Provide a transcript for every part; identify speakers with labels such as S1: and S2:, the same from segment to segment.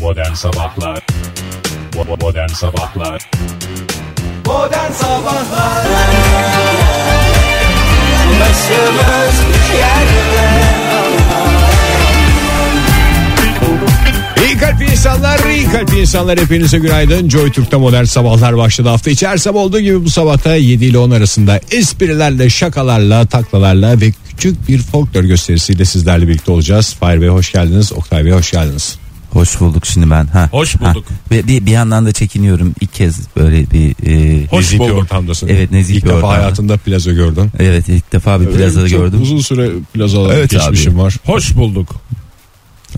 S1: Modern Sabahlar Bo- Modern Sabahlar
S2: Modern Sabahlar Başımız yerde
S3: İyi kalp insanlar, iyi kalp insanlar hepinize günaydın. Joy Türk'te modern sabahlar başladı. Hafta içi her sabah olduğu gibi bu sabahta 7 ile 10 arasında esprilerle, şakalarla, taklalarla ve küçük bir folklor gösterisiyle sizlerle birlikte olacağız. Fahir Bey hoş geldiniz, Oktay Bey hoş geldiniz.
S4: Hoş bulduk şimdi ben. Ha.
S5: Hoş
S4: Ha.
S5: bulduk.
S4: Bir, bir, bir yandan da çekiniyorum. İlk kez böyle bir... e,
S5: Hoş
S3: nezih bir
S5: bulduk.
S3: ortamdasın.
S4: Evet, nezih
S3: İlk
S4: bir
S3: defa
S4: ortamda.
S3: hayatında plaza gördün.
S4: Evet ilk defa bir plazada
S3: Çok
S4: gördüm.
S3: Uzun süre plazalarda
S4: Evet
S3: geçmişim
S4: abi.
S3: var.
S5: Hoş bulduk.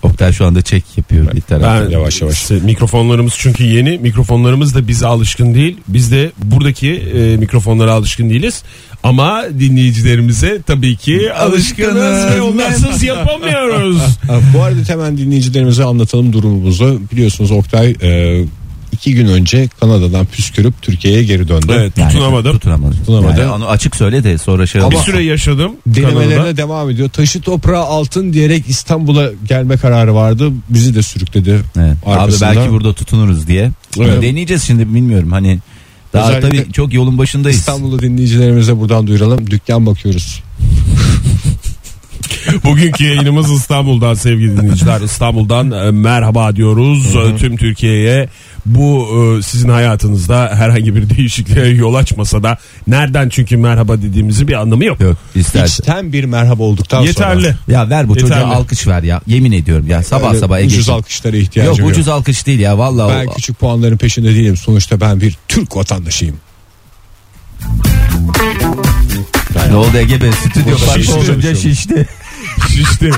S4: Oktay şu anda çek yapıyor bir taraftan.
S5: Ben
S3: Yavaş yavaş.
S5: İşte mikrofonlarımız çünkü yeni. Mikrofonlarımız da bize alışkın değil. Biz de buradaki e, mikrofonlara alışkın değiliz. Ama dinleyicilerimize tabii ki alışkınız ve onlarsız yapamıyoruz.
S3: Ha, Bu arada hemen dinleyicilerimize anlatalım durumumuzu. Biliyorsunuz Oktay e, iki gün önce Kanada'dan püskürüp Türkiye'ye geri döndü.
S5: Evet
S4: Yani
S5: tutunamadım.
S4: Tutunamadım.
S3: Tutunamadı.
S4: Yani onu açık söyle de sonra şey
S5: Bir
S4: olmasın.
S5: süre yaşadım.
S3: Denemelerine
S5: Kanada'da.
S3: devam ediyor. Taşı toprağa altın diyerek İstanbul'a gelme kararı vardı. Bizi de sürükledi.
S4: Evet. Abi
S3: Arkasında.
S4: belki burada tutunuruz diye.
S3: Evet.
S4: Deneyeceğiz şimdi bilmiyorum hani. Daha
S3: Özellikle
S4: tabii çok yolun başındayız.
S3: İstanbul'u dinleyicilerimize buradan duyuralım. Dükkan bakıyoruz.
S5: Bugünkü yayınımız İstanbul'dan sevgili dinleyiciler. İstanbul'dan e, merhaba diyoruz E, tüm Türkiye'ye. Bu e, sizin hayatınızda herhangi bir değişikliğe yol açmasa da nereden çünkü merhaba dediğimizi bir anlamı yok.
S4: Yok istersen.
S3: İçten bir merhaba olduktan sonra.
S5: Yeterli.
S4: Ya ver bu çocuğa
S5: Yeterli.
S4: alkış ver ya. Yemin ediyorum ya sabah
S3: Öyle
S4: sabah
S3: Ucuz
S4: Ege'cim.
S3: alkışlara
S4: Yok
S3: ihtiyacım yok.
S4: ucuz alkış değil ya vallahi.
S3: Ben küçük puanların peşinde değilim. Sonuçta ben bir Türk vatandaşıyım.
S4: Ne oldu Ege Bey? Stüdyo
S3: Şişti.
S4: parça olunca şişti.
S5: İşte.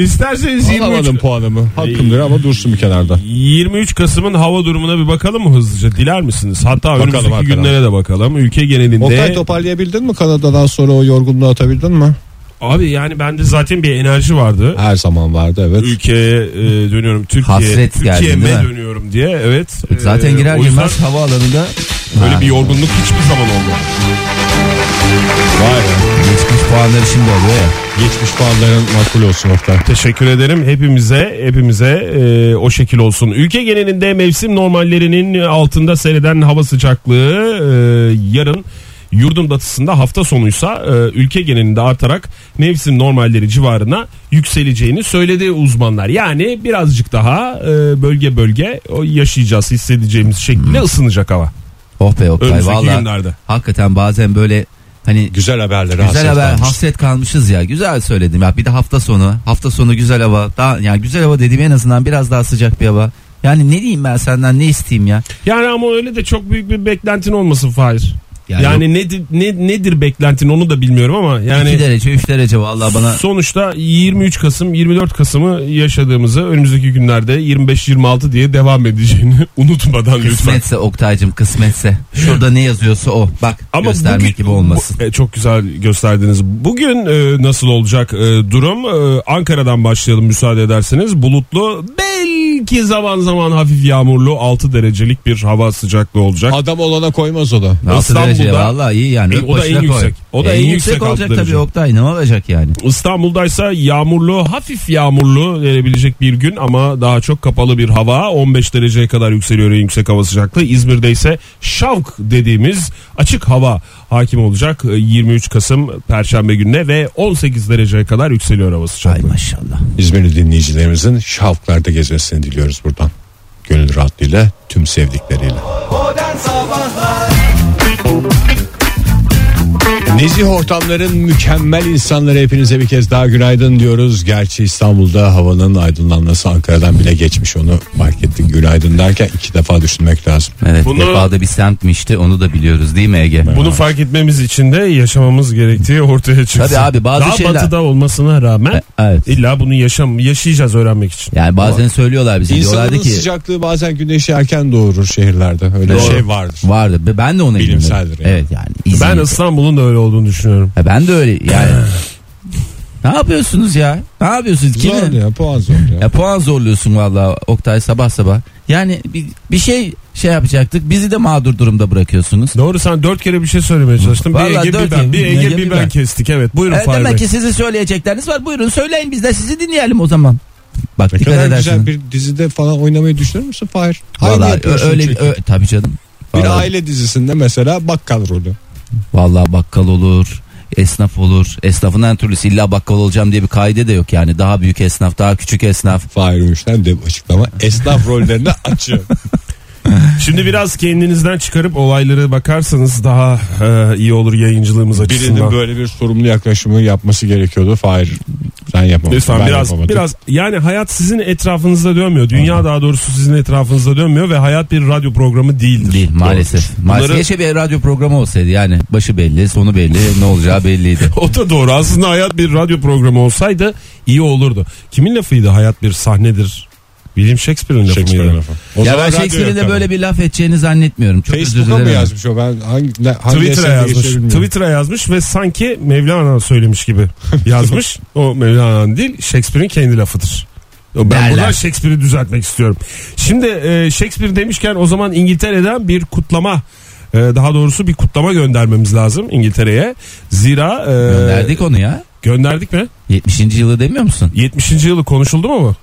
S5: İsterseniz 23,
S3: Alamadım puanımı. Hakkımdır ama dursun bir kenarda.
S5: 23 Kasım'ın hava durumuna bir bakalım mı hızlıca? Diler misiniz? Hatta önümüzdeki
S3: hakikaten.
S5: günlere de bakalım. Ülke genelinde.
S3: Oktay toparlayabildin mi Kanada'dan sonra o yorgunluğu atabildin mi?
S5: Abi yani bende zaten bir enerji vardı.
S3: Her zaman vardı evet.
S5: Ülkeye e, dönüyorum Türkiye,
S4: Hasret geldin, değil
S5: Türkiye'me
S4: mi?
S5: dönüyorum diye evet.
S4: Zaten
S5: E,
S4: girer
S5: o yüzden
S4: girmez havaalanında
S5: Böyle
S4: Ha.
S5: bir yorgunluk hiçbir zaman olmadı.
S3: Vay be.
S4: geçmiş puanları şimdi oluyor ya.
S3: Geçmiş puanların makul olsun Oktay.
S5: Teşekkür ederim hepimize hepimize e, o şekil olsun. Ülke genelinde mevsim normallerinin altında seyreden hava sıcaklığı e, yarın yurdun batısında hafta sonuysa e, ülke genelinde artarak mevsim normalleri civarına yükseleceğini söyledi uzmanlar. Yani birazcık daha e, bölge bölge o yaşayacağız hissedeceğimiz şekilde ısınacak hava.
S4: Oh be Oktay
S5: Önümüzdeki
S4: valla.
S5: günlerde.
S4: Hakikaten bazen böyle hani
S3: Güzel haberler.
S4: güzel haber hasret kalmışız ya. Güzel söyledim ya. Bir de hafta sonu. Hafta sonu güzel hava. Daha yani güzel hava dediğim en azından biraz daha sıcak bir hava. Yani ne diyeyim ben senden ne isteyeyim ya?
S5: Yani ama öyle de çok büyük bir beklentin olmasın Fahir.
S4: Yani
S5: Yani, nedir ne, nedir beklentin onu da bilmiyorum ama yani
S4: 2 derece 3 derece vallahi bana
S5: Sonuçta 23 Kasım 24 Kasım'ı yaşadığımızı önümüzdeki günlerde 25-26 diye devam edeceğini unutmadan lütfen.
S4: kısmetse Oktay'cım kısmetse. Şurada ne yazıyorsa o. Bak göstermek
S5: bugün-
S4: gibi olmasın.
S5: bu- e, çok güzel gösterdiniz. Bugün e, nasıl olacak e, durum? E, Ankara'dan başlayalım müsaade ederseniz. Bulutlu belki zaman zaman hafif yağmurlu 6 derecelik bir hava sıcaklığı olacak.
S3: Adam olana koymaz o da.
S4: Altı
S5: İstanbul'da-
S4: derece valla iyi yani.
S5: E,
S4: Öp
S5: o da
S4: başına
S5: en
S4: koy. E,
S5: yüksek. O da en yüksek altı
S4: olacak
S5: derece.
S4: tabii Oktay ne olacak yani.
S5: İstanbul'daysa yağmurlu hafif yağmurlu verebilecek bir gün ama daha çok kapalı bir hava 15 dereceye kadar yükseliyor en yüksek hava sıcaklığı. İzmir'de ise şavk dediğimiz açık hava hakim olacak Ee, 23 Kasım Perşembe gününe ve 18 dereceye kadar yükseliyor hava
S4: Ay
S5: sıcaklığı.
S4: E, maşallah.
S3: İzmirli dinleyicilerimizin şavklarda gezmesini diliyoruz buradan. Gönül rahatlığıyla tüm sevdikleriyle.
S2: Modern Sabahlar
S3: Nezih ortamların mükemmel insanları hepinize bir kez daha günaydın diyoruz. Gerçi İstanbul'da havanın aydınlanması Ankara'dan bile geçmiş onu fark ettik. Günaydın derken iki defa düşünmek lazım.
S4: Evet
S5: Bunu-
S4: Nepal'da bir semtmişti onu da biliyoruz değil mi Ege?
S5: Bunu fark etmemiz için de yaşamamız gerektiği ortaya çıksın.
S4: Tabii abi, bazı
S5: Daha
S4: şeyler- E,
S5: batıda olmasına rağmen
S4: Evet.
S5: illa bunu yaşam yaşayacağız öğrenmek için.
S4: Yani bazen söylüyorlar bize diyorlardı
S3: İnsanın
S4: ki
S3: sıcaklığı bazen güneşi erken doğurur şehirlerde. Öyle bir
S4: Doğru.
S3: şey vardır.
S4: vardı. Be- Ben de ona inanıyorum.
S3: Bilimseldir yani.
S4: Evet yani.
S5: Ben
S4: İzmir-
S5: İstanbul'un da öyle olduğunu düşünüyorum.
S4: Ha, ben de öyle yani. ne yapıyorsunuz ya? Ne yapıyorsunuz? Kimi?
S3: Zor ya puan zor ya.
S4: Ya puan zorluyorsun valla Oktay sabah sabah. Yani bir, bir şey şey yapacaktık. Bizi de mağdur durumda bırakıyorsunuz.
S5: Doğru sen dört kere bir şey söylemeye çalıştın. Bir
S4: Vallahi
S5: Ege
S4: dört
S5: bir ben, bir
S4: kere-
S5: Ege
S4: Ege
S5: bir
S4: bir
S5: ben
S4: ben.
S5: kestik. Evet buyurun
S4: E,
S5: Fahir
S4: demek
S5: Bey.
S4: ki sizin söyleyecekleriniz var. Buyurun söyleyin biz de sizi dinleyelim o zaman. Bak
S3: Ne
S4: dikkat
S3: kadar güzel
S4: edersin.
S3: bir dizide falan oynamayı düşünür müsün Fahir? Aynı
S4: Vallahi
S3: yapıyorsun
S4: öyle
S3: çünkü.
S4: ö- tabii canım.
S3: bir
S4: Vallahi,
S3: aile dizisinde mesela bakkal rolü.
S4: vallahi bakkal olur, esnaf olur. Esnafın her türlüsü illa bakkal olacağım diye bir kaide de yok yani. Daha büyük esnaf, daha küçük esnaf.
S3: Fahir Gümüş'ten de bu açıklama esnaf rollerini açıyor.
S5: Şimdi biraz kendinizden çıkarıp olaylara bakarsanız daha e, iyi olur yayıncılığımız açısından.
S3: Birinin böyle bir sorumlu yaklaşımı yapması gerekiyordu. Fahir sen yapamadın.
S5: Lütfen
S3: ben
S5: biraz
S3: yapamadım.
S5: biraz yani hayat sizin etrafınızda dönmüyor. Dünya daha doğrusu sizin etrafınızda dönmüyor ve hayat bir radyo programı değildir.
S4: Değil maalesef. maalesef.
S5: Bunları-
S4: Keşke bir radyo programı olsaydı yani. Başı belli, sonu belli, ne olacağı belliydi.
S5: O da doğru. Aslında hayat bir radyo programı olsaydı iyi olurdu. Kimin lafıydı hayat bir sahnedir? William Shakespeare'in lafı
S3: Shakespeare'ın
S5: mıydı?
S3: lafı. O
S4: ya
S3: zaman
S4: ben
S3: radyo
S4: Shakespeare'in
S3: yok
S4: de
S3: tabii.
S4: böyle bir laf edeceğini zannetmiyorum. Çok özür
S3: Facebook'a
S4: dilerim.
S3: mı yazmış o ben hangi, ne- hangi
S5: Twitter'a
S3: eserde
S5: yazmış.
S3: geçiyor bilmiyorum.
S5: Twitter'a yazmış ve sanki Mevlana söylemiş gibi yazmış. o Mevlana'nın değil Shakespeare'in kendi lafıdır. O Ben
S4: Derler.
S5: buradan Shakespeare'i düzeltmek istiyorum. Şimdi e, Shakespeare demişken o zaman İngiltere'den bir kutlama e, daha doğrusu bir kutlama göndermemiz lazım İngiltere'ye. Zira e,
S3: Ee,
S4: Gönderdik onu ya.
S5: gönderdik mi?
S4: 70. yılı demiyor musun?
S5: 70. yılı konuşuldu mu bu?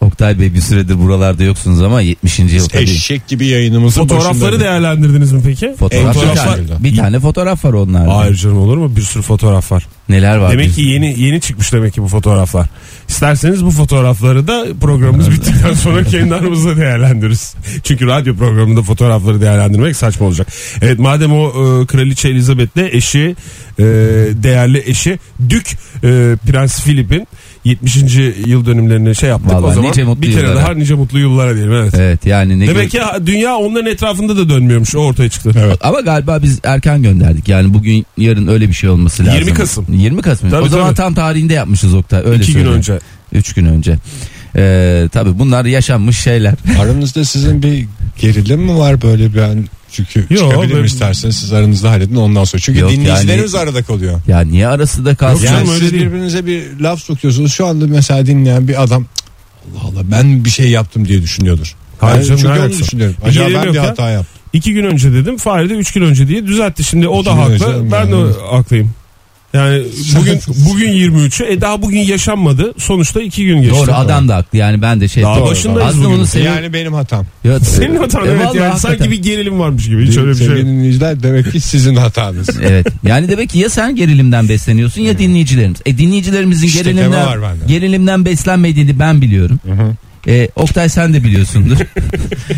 S4: Oktay Bey bir süredir buralarda yoksunuz ama 70. yıl tabii.
S3: Eşek gibi yayınımızın
S5: Fotoğrafları
S3: başında-
S5: değerlendirdiniz mi peki?
S4: Fotoğraf bir
S3: Fotoğraflar-
S4: tane, bir tane fotoğraf var onlarda.
S5: Hayır canım olur mu? Bir sürü fotoğraf var.
S4: Neler var?
S5: Demek
S4: biz-
S5: ki yeni yeni çıkmış demek ki bu fotoğraflar. İsterseniz bu fotoğrafları da programımız bittikten sonra kendi aramızda değerlendiririz. Çünkü radyo programında fotoğrafları değerlendirmek saçma olacak. Evet madem o e, kraliçe Elizabeth'le eşi e, değerli eşi Dük e, Prens Philip'in 70. yıl dönümlerini şey yaptık
S4: Vallahi
S5: o zaman.
S4: nice mutlu
S5: bir kere
S4: yıllara.
S5: daha nice mutlu yıllara diyelim evet.
S4: Evet yani ne
S5: Demek ki dünya onların etrafında da dönmüyormuş o ortaya çıktı. Evet.
S4: Ama galiba biz erken gönderdik. Yani bugün yarın öyle bir şey olması lazım.
S5: 20 Kasım.
S4: 20 Kasım.
S5: Tabii,
S4: o zaman
S5: tabii.
S4: tam tarihinde yapmışız Oktay. Öyle
S5: İki gün
S4: söyleyeyim.
S5: önce.
S4: Üç gün önce. Ee, tabii bunlar yaşanmış şeyler.
S3: Aranızda sizin bir gerilim mi var böyle bir an? Çünkü
S5: Yo,
S3: çıkabilir
S5: ben-
S3: mi isterseniz siz aranızda halledin ondan sonra. Çünkü
S4: Yok,
S3: dinleyicilerimiz arada kalıyor.
S4: Ya niye arası da kalsın?
S5: Yok
S3: Yani
S5: canım, öyle
S3: siz
S5: değil.
S3: birbirinize bir laf sokuyorsunuz. Şu anda mesela dinleyen bir adam "Cık, Allah Allah ben bir şey yaptım diye düşünüyordur.
S5: Hayır
S3: Ben
S5: canım, ne
S3: çünkü onu
S5: alakası var?
S3: düşünüyorum.
S5: Bir
S3: Acaba
S5: gerilim
S3: ben
S5: yok
S3: bir
S5: ya.
S3: hata yaptım.
S5: İki gün önce dedim. Fahri de üç gün önce diye düzeltti. Şimdi o
S3: İki
S5: da
S3: gün
S5: haklı.
S3: önce mi?
S5: ben de haklıyım. Yani bugün bugün 23'ü. E daha bugün yaşanmadı. Sonuçta iki gün geçti.
S4: Doğru adam da haklı. Yani ben de şey
S5: Daha
S4: Doğru.
S5: başındayız
S4: Aslında
S5: bugün.
S4: onu seviyor.
S3: Yani benim hatam.
S4: Ya-
S5: Senin hatan
S4: E,
S5: evet
S4: vallahi
S5: yani
S4: hakikaten.
S5: sanki bir gerilim varmış gibi. Hiç öyle bir şey.
S3: Sevgili
S5: yok.
S3: dinleyiciler demek ki sizin hatanız.
S4: Evet. Yani demek ki ya sen gerilimden besleniyorsun ya dinleyicilerimiz. E dinleyicilerimizin
S3: İşte tema
S4: gerilimden
S3: var bende.
S4: gerilimden beslenmediğini ben biliyorum. E, Oktay sen de biliyorsundur.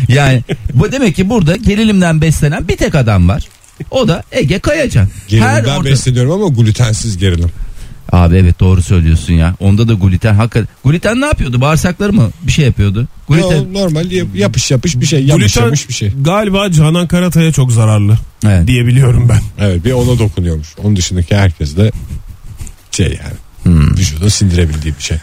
S4: yani bu demek ki burada gerilimden beslenen bir tek adam var. O da Ege Kayacan. Her
S3: Gerilimden
S4: orada-
S3: besleniyorum ama glutensiz gerilim.
S4: Abi evet doğru söylüyorsun ya. Onda da gluten hakikaten. Gluten ne yapıyordu? Bağırsakları mı? Bir şey yapıyordu. Gluten.
S3: Yo, normal yap- yapış yapış bir şey. Yapış
S5: Gluten
S3: yapış bir şey.
S5: galiba Canan Karatay'a çok zararlı
S4: Evet.
S5: diyebiliyorum ben.
S3: Evet bir ona dokunuyormuş. Onun dışındaki herkes de şey yani
S4: Hmm.
S3: vücudun sindirebildiği bir şey.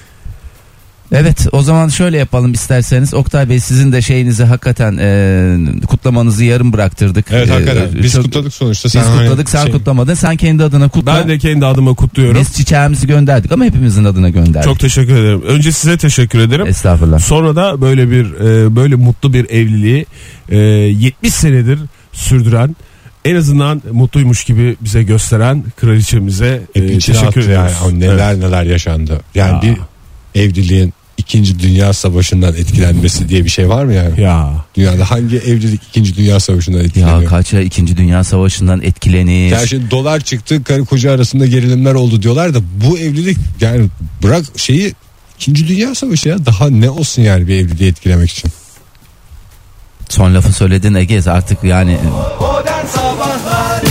S4: Evet o zaman şöyle yapalım isterseniz Oktay Bey sizin de şeyinizi hakikaten e, kutlamanızı yarım bıraktırdık.
S3: Evet
S4: E,
S3: hakikaten.
S4: e,
S3: Biz
S4: çok-
S3: kutladık sonuçta.
S4: Biz kutladık sen
S3: hani şey-
S4: kutlamadın sen kendi adına kutla.
S5: Ben de kendi adıma kutluyorum.
S4: Biz çiçeğimizi gönderdik ama hepimizin adına gönderdik.
S5: Çok teşekkür ederim. Önce size teşekkür ederim.
S4: Estağfurullah.
S5: Sonra da böyle bir e, böyle mutlu bir evliliği e, 70 senedir sürdüren en azından mutluymuş gibi bize gösteren kraliçemize e,
S3: Hep içine attı
S5: teşekkür ediyoruz.
S3: yani. O neler
S5: Evet.
S3: neler yaşandı. Yani
S5: Ya.
S3: bir evliliğin İkinci Dünya Savaşı'ndan etkilenmesi diye bir şey var mı yani?
S5: Ya.
S3: Dünyada hangi evlilik İkinci Dünya Savaşı'ndan
S4: Ya
S3: etkileniyor?
S4: kaç ya 2. Dünya Savaşı'ndan etkilenir.
S3: Ya şimdi dolar çıktı karı koca arasında gerilimler oldu diyorlar da bu evlilik yani bırak şeyi İkinci Dünya Savaşı ya daha ne olsun yani bir evliliği etkilemek için.
S4: Son lafı söyledin Egez artık yani
S2: Modern Sabahlar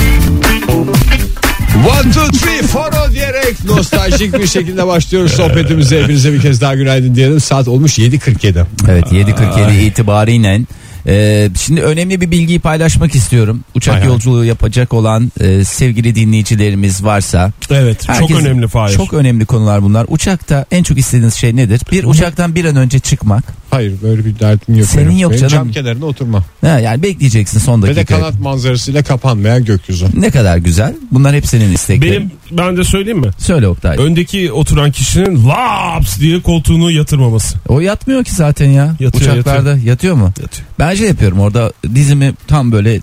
S3: One, two, three, four o diyerek nostaljik bir şekilde başlıyoruz sohbetimize. Hepinize bir kez daha günaydın diyelim. Saat olmuş 7.47.
S4: evet 7.47 itibariyle e, şimdi önemli bir bilgiyi paylaşmak istiyorum. Uçak
S5: Hay hay.
S4: yolculuğu yapacak olan e, sevgili dinleyicilerimiz varsa
S5: Evet. çok
S4: Herkes-
S5: önemli Fahir.
S4: Çok önemli konular bunlar. Uçakta en çok istediğiniz şey nedir? Bir uçaktan bir an önce çıkmak.
S3: Hayır böyle bir derdim yok.
S4: Senin
S3: benim.
S4: yok
S3: Benim Cam
S4: canım.
S3: kenarında oturma.
S4: Ha, yani bekleyeceksin son
S3: Ve de
S4: dakika.
S3: kanat manzarasıyla kapanmayan gökyüzü.
S4: Ne kadar güzel. Bunlar hep senin isteklerin.
S5: Benim ben de söyleyeyim mi?
S4: Söyle Oktay.
S5: Öndeki oturan kişinin laps diye koltuğunu yatırmaması.
S4: o yatmıyor ki zaten ya.
S5: Yatıyor,
S4: Uçaklarda yatıyor mu?
S5: Yatıyor.
S4: Ben şey yapıyorum orada dizimi tam böyle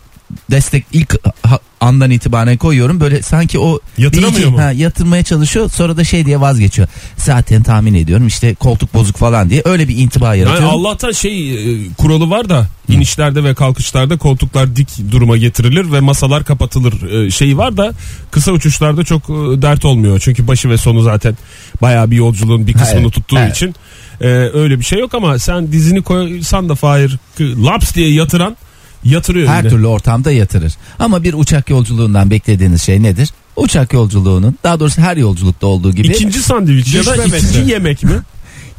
S4: destek ilk ha- andan itibaren koyuyorum. Böyle sanki o
S5: Yatıramıyor
S4: bir iki-
S5: mu?
S4: Ha, yatırmaya çalışıyor. Sonra da şey diye vazgeçiyor. Zaten tahmin ediyorum işte koltuk bozuk falan diye öyle bir intiba
S5: Yani
S4: yaratıyorum.
S5: Allah'tan şey e, kuralı var da inişlerde ve kalkışlarda koltuklar dik duruma getirilir ve masalar kapatılır e, şeyi var da kısa uçuşlarda çok e, dert olmuyor. Çünkü başı ve sonu zaten bayağı bir yolculuğun bir kısmını
S4: Evet,
S5: tuttuğu
S4: evet.
S5: için e, öyle bir şey yok ama sen dizini koysan da Fahir k- laps diye yatıran yatırıyor
S4: Her
S5: yine.
S4: türlü ortamda yatırır. Ama bir uçak yolculuğundan beklediğiniz şey nedir? Uçak yolculuğunun daha doğrusu her yolculukta olduğu gibi.
S5: İkinci sandviç ya da
S3: Düşmemesi.
S5: ikinci yemek mi?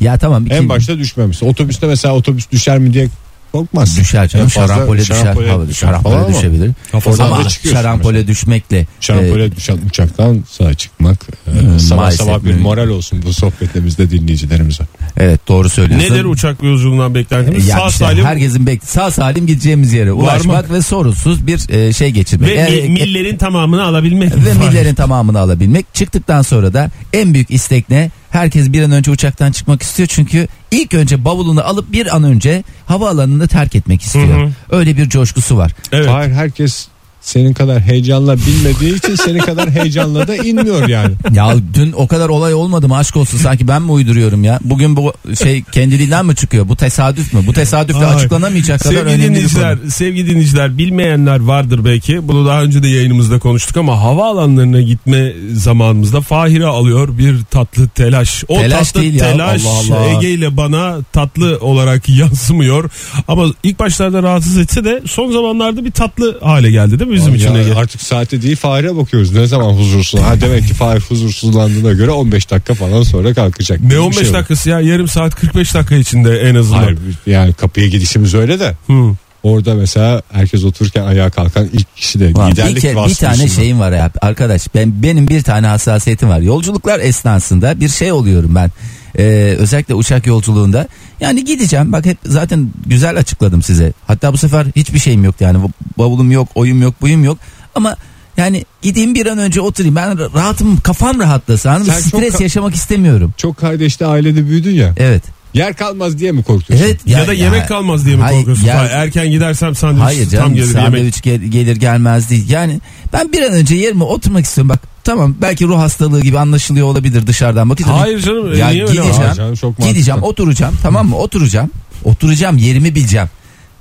S4: ya tamam
S3: En
S4: ikinci-
S3: başta düşmemesi. Otobüste mesela otobüs düşer mi diye korkmaz.
S4: Düşer canım
S3: En fazla
S4: şarampole düşer.
S3: şarampole
S4: hava
S3: düşer
S4: şarampole
S3: falan ama
S4: düşebilir.
S3: kafadan da
S4: Ama
S3: çıkıyorsun
S4: şarampole düşmekle e,
S3: Şarampole düşen uçaktan sağ çıkmak e, sabah
S4: Hmm, maalesef
S3: sabah bir
S4: mümkün.
S3: moral olsun bu sohbetimizde dinleyicilerimize.
S4: e, evet doğru söylüyorsun.
S5: Nedir uçak yolculuğundan beklentimiz?
S4: Ya
S5: Sağ
S4: işte
S5: salim
S4: herkesin bek sağ salim gideceğimiz yere ulaşmak ve sorunsuz bir e, şey geçirmek.
S5: ve
S4: E,
S5: mi- millerin tamamını alabilmek.
S4: ve millerin tamamını alabilmek. Çıktıktan sonra da en büyük istek ne? Herkes bir an önce uçaktan çıkmak istiyor çünkü ilk önce bavulunu alıp bir an önce havaalanını terk etmek istiyor.
S5: Hı hı.
S4: Öyle bir coşkusu var.
S5: Evet.
S3: Hayır herkes senin kadar heyecanla bilmediği için senin kadar heyecanla da inmiyor yani.
S4: Ya dün o kadar olay olmadı mı aşk olsun sanki ben mi uyduruyorum ya? Bugün bu şey kendiliğinden mi çıkıyor? Bu tesadüf mü? Bu tesadüfle
S5: Ay.
S4: açıklanamayacak kadar
S5: Sevgili
S4: önemli bir konu.
S5: dinleyiciler, sevgili dinleyiciler bilmeyenler vardır belki. Bunu daha önce de yayınımızda konuştuk ama havaalanlarına gitme zamanımızda Fahir'e alıyor bir tatlı telaş. O
S4: Telaş
S5: tatlı
S4: değil ya,
S5: telaş
S4: Allah Allah.
S5: Ege ile bana tatlı olarak yansımıyor. Ama ilk başlarda rahatsız etse de son zamanlarda bir tatlı hale geldi değil mi bizim için
S3: Ya
S5: Ege?
S3: artık saate değil Fahir'e bakıyoruz. Ne zaman huzursuz? Ha demek ki Fahir huzursuzlandığına göre 15 dakika falan sonra kalkacak. Bir
S5: Ne
S3: şey
S5: 15
S3: var.
S5: dakikası ya yarım saat 45 dakika içinde en azından.
S3: Hayır yani kapıya gidişimiz öyle de.
S5: Hı.
S3: Orada mesela herkes otururken ayağa kalkan ilk kişi de
S4: Ulan bir,
S3: liderlik
S4: ke- bir
S3: vasfı
S4: tane şey-
S3: üstüne.
S4: şeyim var ya arkadaş ben benim bir tane hassasiyetim var yolculuklar esnasında bir şey oluyorum ben Ee, özellikle uçak yolculuğunda yani gideceğim bak hep zaten güzel açıkladım size hatta bu sefer hiçbir şeyim yok yani Bu- bavulum yok oyum yok buyum yok ama yani gideyim bir an önce oturayım ben ra- rahatım kafam rahatlasa anladın mı?
S3: Sen çok
S4: stres
S3: ka-
S4: yaşamak istemiyorum
S3: Çok kardeşli ailede büyüdün ya.
S4: evet
S3: Yer kalmaz diye mi korkuyorsun?
S4: evet
S5: Ya, da yemek
S4: kalmaz
S5: kalmaz diye mi
S4: Hayır,
S5: korkuyorsun?
S4: ya-
S5: Hayır, erken gidersem sandviç
S4: Hayır
S5: tam
S4: canım
S5: gelir yemek.
S4: sandviç gel- gelir gelmez değil. Yani ben bir an önce yerime oturmak istiyorum bak. Tamam belki ruh hastalığı gibi anlaşılıyor olabilir dışarıdan bakınca.
S5: Hayır canım e,
S4: Ya
S5: niye öyle?
S4: gideceğim.
S5: Hayır.
S3: Aa, canım, çok mantıklı.
S4: Gideceğim oturacağım tamam mı oturacağım. Oturacağım yerimi bileceğim.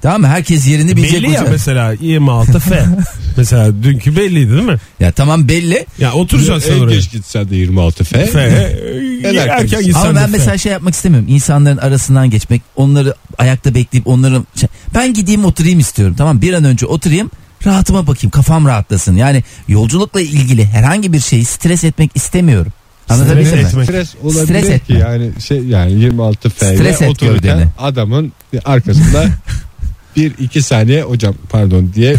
S4: Tamam mı herkes yerini bilecek.
S5: E, Belli ya
S4: olacak.
S5: mesela 26 F. mesela dünkü belliydi değil mi?
S4: Ya tamam belli.
S5: Ya oturacaksın sen
S3: En
S5: oraya.
S3: geç gitsen de 26 F.
S5: F.
S3: En erken
S5: E, erken
S3: gitsin.
S5: gitsen
S4: Ama
S5: de
S4: ben
S5: F.
S4: mesela şey yapmak istemiyorum. İnsanların arasından geçmek, onları ayakta bekleyip onların şey- ben gideyim oturayım istiyorum. Tamam bir an önce oturayım. Rahatıma bakayım. Kafam rahatlasın. Yani yolculukla ilgili herhangi bir şeyi stres etmek istemiyorum. Anlatabildim mi?
S5: Stres etmek.
S3: Stres olabilir
S4: şey Stres
S3: ki
S4: etme.
S3: yani şey yani 26 F
S4: Stres
S3: ile
S4: et gövdeni.
S3: otururken adamın arkasında 1-2 saniye hocam pardon diye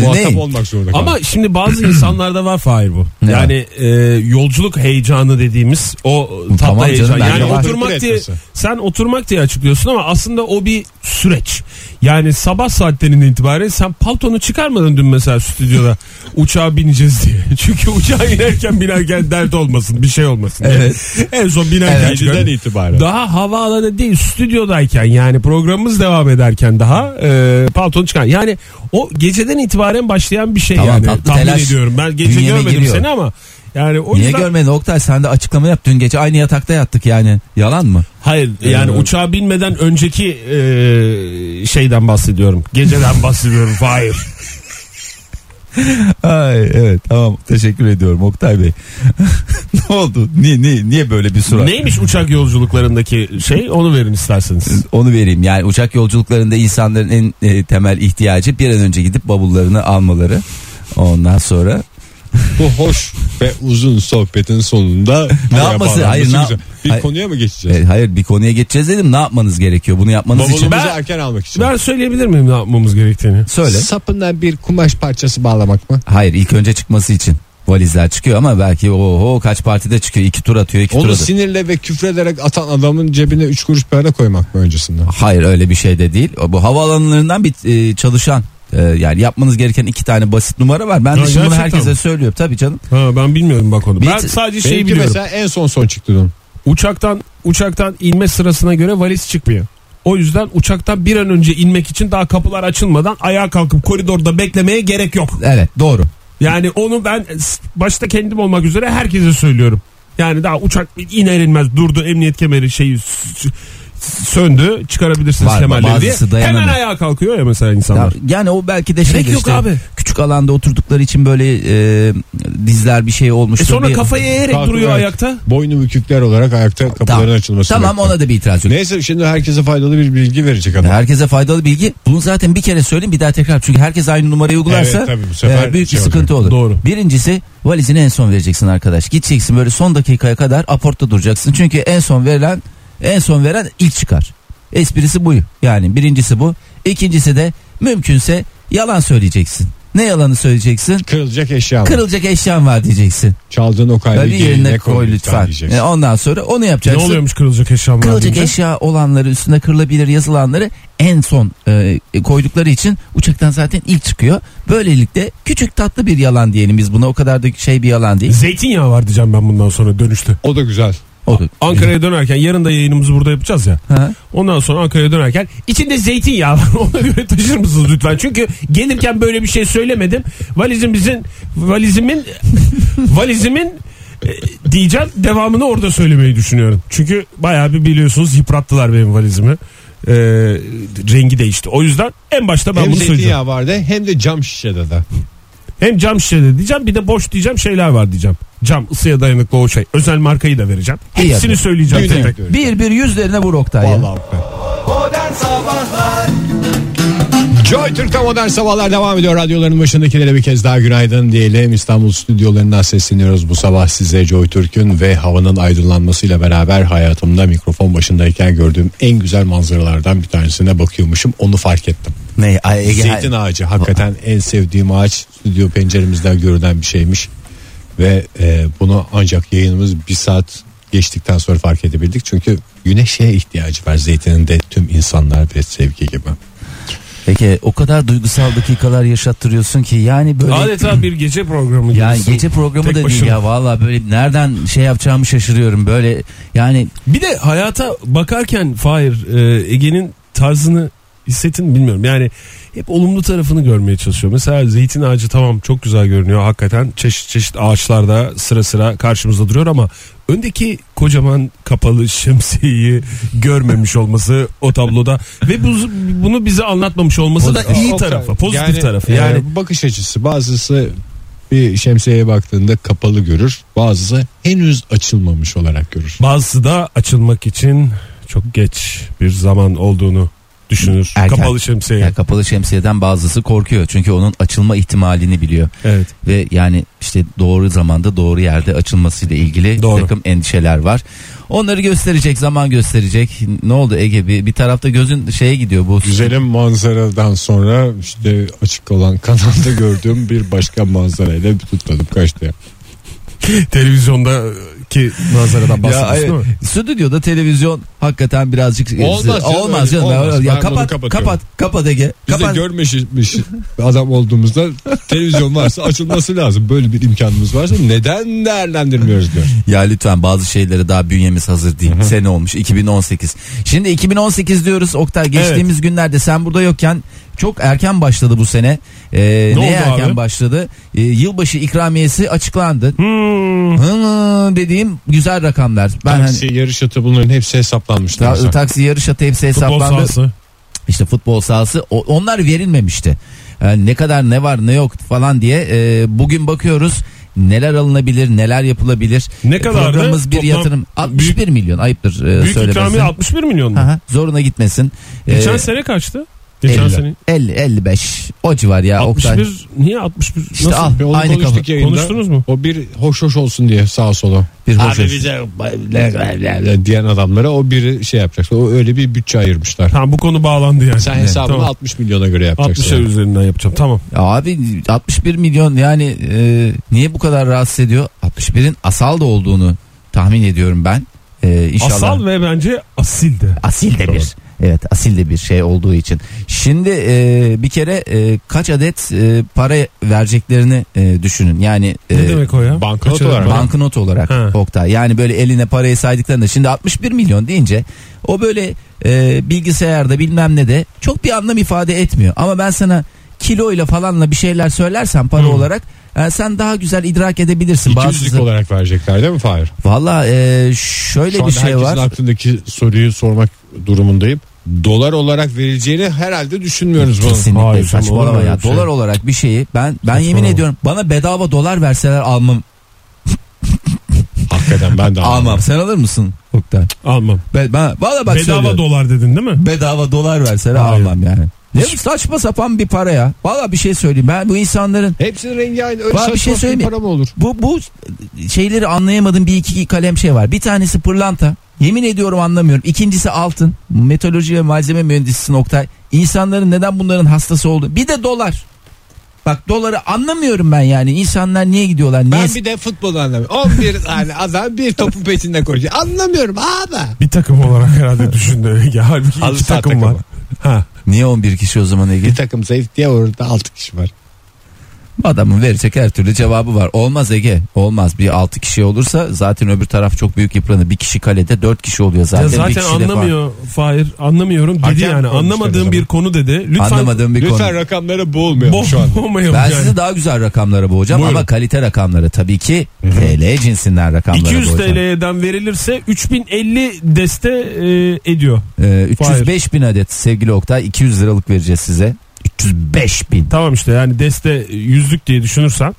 S3: muhatap
S4: Ne?
S3: olmak zorunda kaldı.
S5: Ama şimdi bazı insanlarda var Fahir bu.
S4: Ne?
S5: Yani e, yolculuk heyecanı dediğim o tatlı
S4: Tamam canım,
S5: heyecan.
S4: bence
S5: yani
S3: var.
S5: oturmak
S3: Takdir
S5: diye
S3: etmesi.
S5: sen oturmak diye açıklıyorsun ama aslında o bir süreç. Yani sabah saatlerinden itibaren sen paltonu çıkarmadın dün mesela stüdyoda uçağa bineceğiz diye. Çünkü uçağa inerken binerken dert olmasın bir şey olmasın diye. En son binerken
S4: Evet.
S5: çıkar-
S3: Geceden itibaren.
S5: Daha havaalanı değil stüdyodayken yani programımız devam ederken daha e, paltonu çıkan. Yani o geceden itibaren başlayan bir şey
S4: Tamam,
S5: yani
S4: tatlı
S5: tahmin
S4: telaş
S5: ediyorum. Ben gece
S4: bünyeme
S5: görmedim
S4: giriyor.
S5: seni ama yani o
S4: Niye
S5: yüzden
S4: görmedin Oktay sen de açıklama yap. Dün gece aynı yatakta yattık yani. Yalan mı?
S5: hayır yani uçağa binmeden önceki e, şeyden bahsediyorum. Geceden bahsediyorum. Hayır.
S4: Ay evet tamam teşekkür ediyorum Oktay Bey. ne oldu? Niye, niye, niye böyle bir surat?
S5: Neymiş uçak yolculuklarındaki şey? Onu verin isterseniz.
S4: Onu vereyim yani uçak yolculuklarında insanların en e, temel ihtiyacı bir an önce gidip bavullarını almaları. Ondan sonra
S3: Bu hoş ve uzun sohbetin sonunda
S4: Ne
S3: buraya
S4: yapması?
S3: bağlanması
S4: Hayır, ne-
S3: güzel. Bir
S4: Hayır.
S3: konuya mı geçeceğiz?
S4: e, hayır bir konuya geçeceğiz dedim ne yapmanız gerekiyor bunu yapmanız
S3: Bavulumuzu
S4: için.
S5: Ben-
S3: erken almak için.
S5: Ben söyleyebilir miyim ne yapmamız gerektiğini?
S4: Söyle.
S3: Sapından bir kumaş parçası bağlamak mı?
S4: Hayır ilk önce çıkması için. Valizler çıkıyor ama belki oho kaç partide çıkıyor iki tur atıyor iki tur
S3: Onu
S4: atıyor.
S3: sinirle ve küfrederek atan adamın cebine 3 kuruş para koymak mı öncesinde?
S4: Hayır öyle bir şey de değil. Bu havaalanlarından bir e, çalışan e, yani yapmanız gereken iki tane basit numara var. Ben
S5: Ha,
S4: de şimdi bunu
S5: gerçekten
S4: herkese
S5: mi?
S4: söylüyorum tabii canım.
S5: Ha, ben bilmiyorum bak onu.
S4: Bir-
S5: Ben sadece şeyi
S3: Benimki
S5: biliyorum.
S3: mesela en son son çıktı dün.
S5: Uçaktan uçaktan inme sırasına göre valiz çıkmıyor. O yüzden uçaktan bir an önce inmek için daha kapılar açılmadan ayağa kalkıp koridorda beklemeye gerek yok.
S4: Evet doğru.
S5: Yani onu ben s- başta kendim olmak üzere herkese söylüyorum. Yani daha uçak iner inmez durdu emniyet kemeri şeyi s- s- söndü çıkarabilirsiniz
S4: Var,
S5: kemerleri diye.
S4: bazısı dayanamıyor.
S5: Hemen ayağa kalkıyor ya mesela insanlar.
S4: Ya- Yani o belki de şey
S5: Gerek yok
S4: işte,
S5: abi.
S4: küçük alanda oturdukları için böyle e, dizler bir şey olmuş.
S5: E sonra kafayı eğerek
S3: Kalkıyor,
S5: duruyor
S3: evet.
S5: ayakta.
S3: Boynu bükükler olarak ayakta kapıların açılması.
S4: Tamam
S3: gerekiyor.
S4: ona da bir itiraz yok.
S3: Neyse şimdi herkese faydalı bir bilgi verecek adam.
S4: Herkese faydalı bilgi. Bunu zaten bir kere söyleyeyim bir daha tekrar. Çünkü herkes aynı numarayı uygularsa
S3: Evet, tabii bu sefer
S4: e, büyük
S3: şey
S4: bir sıkıntı
S3: olacak.
S4: olur.
S5: Doğru.
S4: Birincisi valizini en son vereceksin arkadaş. Gideceksin böyle son dakikaya kadar aportta duracaksın. Çünkü en son verilen en son veren ilk çıkar. Esprisi bu. Yani birincisi bu. İkincisi de mümkünse yalan söyleyeceksin. Ne yalanı söyleyeceksin?
S3: Kırılacak eşya var.
S4: Kırılacak eşyan var diyeceksin.
S3: Çaldığın o kaydı
S4: Böyle yerine koy lütfen.
S3: diyeceksin.
S4: E, Ondan sonra onu
S5: Ne
S4: yapacaksın.
S5: oluyormuş kırılacak eşyalar?
S4: Kırılacak
S5: deyince?
S4: eşya olanları üstünde kırılabilir yazılanları en son e, koydukları için uçaktan zaten ilk çıkıyor. Böylelikle küçük tatlı bir yalan diyelim biz buna o kadar da şey bir yalan değil.
S5: Zeytinyağı var diyeceğim ben bundan sonra dönüşte.
S3: O da güzel.
S4: O da-
S5: Ankara'ya dönerken yarın da yayınımızı burada yapacağız ya.
S4: Ha?
S5: Ondan sonra Ankara'ya dönerken içinde zeytinyağı var. Ona göre taşır mısınız lütfen? Çünkü gelirken böyle bir şey söylemedim. Valizimizin valizimin valizimin e, diyeceğim devamını orada söylemeyi düşünüyorum. Çünkü bayağı bir biliyorsunuz yıprattılar benim valizimi. Ee, rengi değişti. O yüzden en başta ben
S3: hem
S5: bunu söyleyeceğim.
S3: zeytinyağı vardı hem de cam şişede de.
S5: Hem cam şişede diyeceğim bir de boş diyeceğim şeyler var diyeceğim. Cam ısıya dayanıklı o şey. Özel markayı da vereceğim.
S4: İyi
S5: Hepsini
S4: yaptın.
S5: söyleyeceğim tek tek.
S4: Bir bir yüzlerine vur Oktay ya.
S3: Vallahi hakikaten.
S2: Modern Sabahlar
S3: Joy Türk'te modern sabahlar devam ediyor. Radyoların başındakilere bir kez daha günaydın diyelim. İstanbul stüdyolarından sesleniyoruz bu sabah size Joy Türk'ün ve havanın aydınlanmasıyla beraber hayatımda mikrofon başındayken gördüğüm en güzel manzaralardan bir tanesine bakıyormuşum. Onu fark ettim.
S4: Ne, ay, Ege-
S3: Zeytin ağacı hakikaten en sevdiğim ağaç stüdyo penceremizden görülen bir şeymiş. Ve e, bunu ancak yayınımız bir saat geçtikten sonra fark edebildik. Çünkü güneşe ihtiyacı var zeytinin de tüm insanlar ve sevgi gibi.
S4: Peki o kadar duygusal dakikalar yaşattırıyorsun ki yani böyle
S5: Adeta bir gece programı
S4: yani
S5: gibisin.
S4: gece programı
S5: Tek
S4: da değil
S5: başına.
S4: ya valla böyle nereden şey yapacağımı şaşırıyorum böyle yani
S5: Bir de hayata bakarken Fahir e, Ege'nin tarzını hissetin bilmiyorum. Yani hep olumlu tarafını görmeye çalışıyor. Mesela zeytin ağacı tamam çok güzel görünüyor hakikaten. Çeşit çeşit ağaçlarda sıra sıra karşımızda duruyor ama öndeki kocaman kapalı şemsiyeyi görmemiş olması o tabloda ve bu, bunu bize anlatmamış olması da iyi tarafı, pozitif tarafı. Yani
S3: Yani e, bakış açısı bazısı bir şemsiyeye baktığında kapalı görür. Bazısı henüz açılmamış olarak görür.
S5: Bazısı da açılmak için çok geç bir zaman olduğunu düşünür.
S4: Erken.
S5: Kapalı şemsiye.
S4: Ya kapalı şemsiyeden bazısı korkuyor çünkü onun açılma ihtimalini biliyor.
S5: Evet.
S4: Ve yani işte doğru zamanda doğru yerde açılmasıyla ilgili bir
S5: Doğru.
S4: takım endişeler var. Onları gösterecek zaman gösterecek. Ne oldu Ege bir, bir tarafta gözün şeye gidiyor bu.
S3: Güzelim manzaradan sonra işte açık olan kanalda gördüğüm bir başka manzarayla tutmadım kaçtı ya.
S5: Televizyondaki manzaradan
S4: Ya,
S5: bahsediyorsun
S4: evet.
S5: değil mi?
S4: Stüdyoda televizyon hakikaten birazcık
S3: Olmaz canım,
S4: olmaz canım.
S3: olmaz. Ben
S4: Ya
S3: bunu
S4: kapat
S3: kapatıyorum.
S4: kapat kapat Ege.
S3: Biz de
S4: Kapat.
S3: görmeşmiş adam olduğumuzda televizyon varsa açılması lazım. Böyle bir imkanımız varsa neden değerlendirmiyoruz diyor.
S4: Ya lütfen bazı şeylere daha bünyemiz hazır değil. Sene olmuş 2018. Şimdi 2018 diyoruz Oktay geçtiğimiz günlerde sen burada yokken çok erken başladı bu sene. Ee,
S5: Ne
S4: neye
S5: oldu
S4: erken
S5: abi?
S4: başladı? Ee, yılbaşı ikramiyesi açıklandı.
S5: Hmm.
S4: Hı dediğim güzel rakamlar. Ben hani-
S3: Taksi, şey, yarış atı bunların hepsi hesaplanmıştı.
S4: Ta-
S3: mesela.
S4: taksi yarış atı hepsi
S5: Futbol
S4: hesaplandı. Ee,
S5: sahası.
S4: İşte futbol sahası o- onlar verilmemişti. Yani ne kadar ne var ne yok falan diye e, bugün bakıyoruz neler alınabilir neler yapılabilir.
S5: Ne
S4: E,
S5: kadardı?
S4: Programımız bir
S5: Toplam
S4: yatırım 61
S5: büyük-
S4: milyon ayıptır e,
S5: Büyük
S4: söylemesi.
S5: ikramiye 61 milyon mu?
S4: Aha, zoruna gitmesin.
S5: Geçen
S4: E,
S5: sene kaçtı? Geçen
S4: 50.
S5: sene.
S4: 50 55 o civar ya
S5: 61
S4: Oktay.
S5: niye 61?
S4: İşte
S5: Nasıl?
S4: al
S3: Ve onu
S4: aynı kafa.
S3: konuştuk yayında.
S5: Konuştunuz mu?
S3: O bir hoş hoş olsun diye sağa sola.
S4: Bir hoş
S3: Abi
S4: olsun.
S3: bize diyen adamlara o biri şey yapacak. O öyle bir bütçe ayırmışlar.
S5: Tamam bu konu bağlandı yani.
S3: Sen hesabını
S5: Tamam.
S3: 60 milyona göre yapacaksın.
S5: 60'a üzerinden yapacağım. Tamam.
S4: Ya Abi 61 milyon yani e, niye bu kadar rahatsız ediyor? 61'in asal da olduğunu tahmin ediyorum ben. E, inşallah.
S5: Asal ve bence asildi.
S4: Asil de bir. Evet asil de bir şey olduğu için. Şimdi e, bir kere e, kaç adet e, para vereceklerini e, düşünün. Yani e,
S5: Ne demek o ya?
S3: banknot
S5: Kaçırdım
S3: olarak
S5: ben.
S4: Banknot olarak
S5: Ha.
S4: Oktay. Yani böyle eline parayı saydıklarında şimdi 61 milyon deyince o böyle e, bilgisayarda bilmem ne de çok bir anlam ifade etmiyor. Ama ben sana kiloyla falanla bir şeyler söylersem para olarak e, sen daha güzel idrak edebilirsin.
S3: İkiyüzlük olarak verecekler değil mi Fahir?
S4: Valla e, şöyle
S3: Şu
S4: bir
S3: anda
S4: şey
S3: herkesin
S4: var.
S3: aklındaki soruyu sormak durumundayım. Dolar olarak verileceğini herhalde düşünmüyoruz bunu.
S4: Kesinlikle
S5: Hayır, canım,
S4: saçmalama
S5: olur mu
S4: ya.
S5: öyle bir şey?
S4: Dolar olarak bir şeyi ben ben yemin
S5: Saçmalama.
S4: ediyorum bana bedava dolar verseler almam.
S3: Hakikaten ben de anlamadım.
S4: Almam. Sen alır mısın? Oktay.
S5: Almam.
S4: Ben, ben, valla bak
S5: Bedava
S4: söylüyorum.
S5: dolar dedin değil mi?
S4: bedava dolar verseler
S5: Hayır.
S4: almam yani. Ne bu saçma sapan bir para ya. Valla bir şey söyleyeyim ben bu insanların
S3: Hepsinin rengi aynı. Öyle
S4: Bana bir
S3: saçma
S4: şey
S3: sapan
S4: söyleyeyim mi?
S3: para mı olur?
S4: bu bu şeyleri anlayamadığım bir iki kalem şey var. Bir tanesi pırlanta. Yemin ediyorum anlamıyorum. İkincisi altın. Meteoroloji ve malzeme mühendisi Oktay. İnsanların neden bunların hastası oldu? Bir de dolar. Bak doları anlamıyorum ben yani. İnsanlar niye gidiyorlar? Niye?
S3: Ben bir de futbol anlamıyorum. 11 tane adam bir topun peşinde koşuyor. Anlamıyorum abi.
S5: Bir takım olarak herhalde düşündü Ege. Halbuki
S3: Halı
S5: iki
S3: saha
S5: takım var.
S3: takımı.
S5: Ha.
S4: Niye 11 kişi o zaman Ege?
S3: Bir takım zayıf diye orada 6 kişi var.
S4: Adamın verecek her türlü cevabı var. Olmaz Ege. Olmaz. Bir 6 kişi olursa zaten öbür taraf çok büyük yıpranır. Bir kişi kalede 4 kişi oluyor zaten.
S5: Ya
S4: Bir
S5: zaten
S4: kişi de falan.
S5: anlamıyor Fahir. Anlamıyorum dedi
S3: Hakem
S5: yani.
S3: olmuşlar o
S5: Anlamadığım
S3: zaman.
S5: bir konu dedi. Lütfen
S4: Anlamadığım bir konu.
S3: Lütfen rakamlara boğulmayalım
S5: Bo-
S3: şu an.
S5: boğmayalım
S4: Ben
S5: yani.
S4: sizi daha güzel rakamlara boğacağım
S5: Buyurun.
S4: ama kalite rakamları tabii ki TL cinsinden rakamlara
S5: 200
S4: boğacağım.
S5: TL'den verilirse 3050 deste e, ediyor.
S4: Ee, 305 bin adet sevgili Oktay 200 liralık vereceğiz size. 305 bin.
S5: Tamam işte yani deste e, yüzlük diye düşünürsen.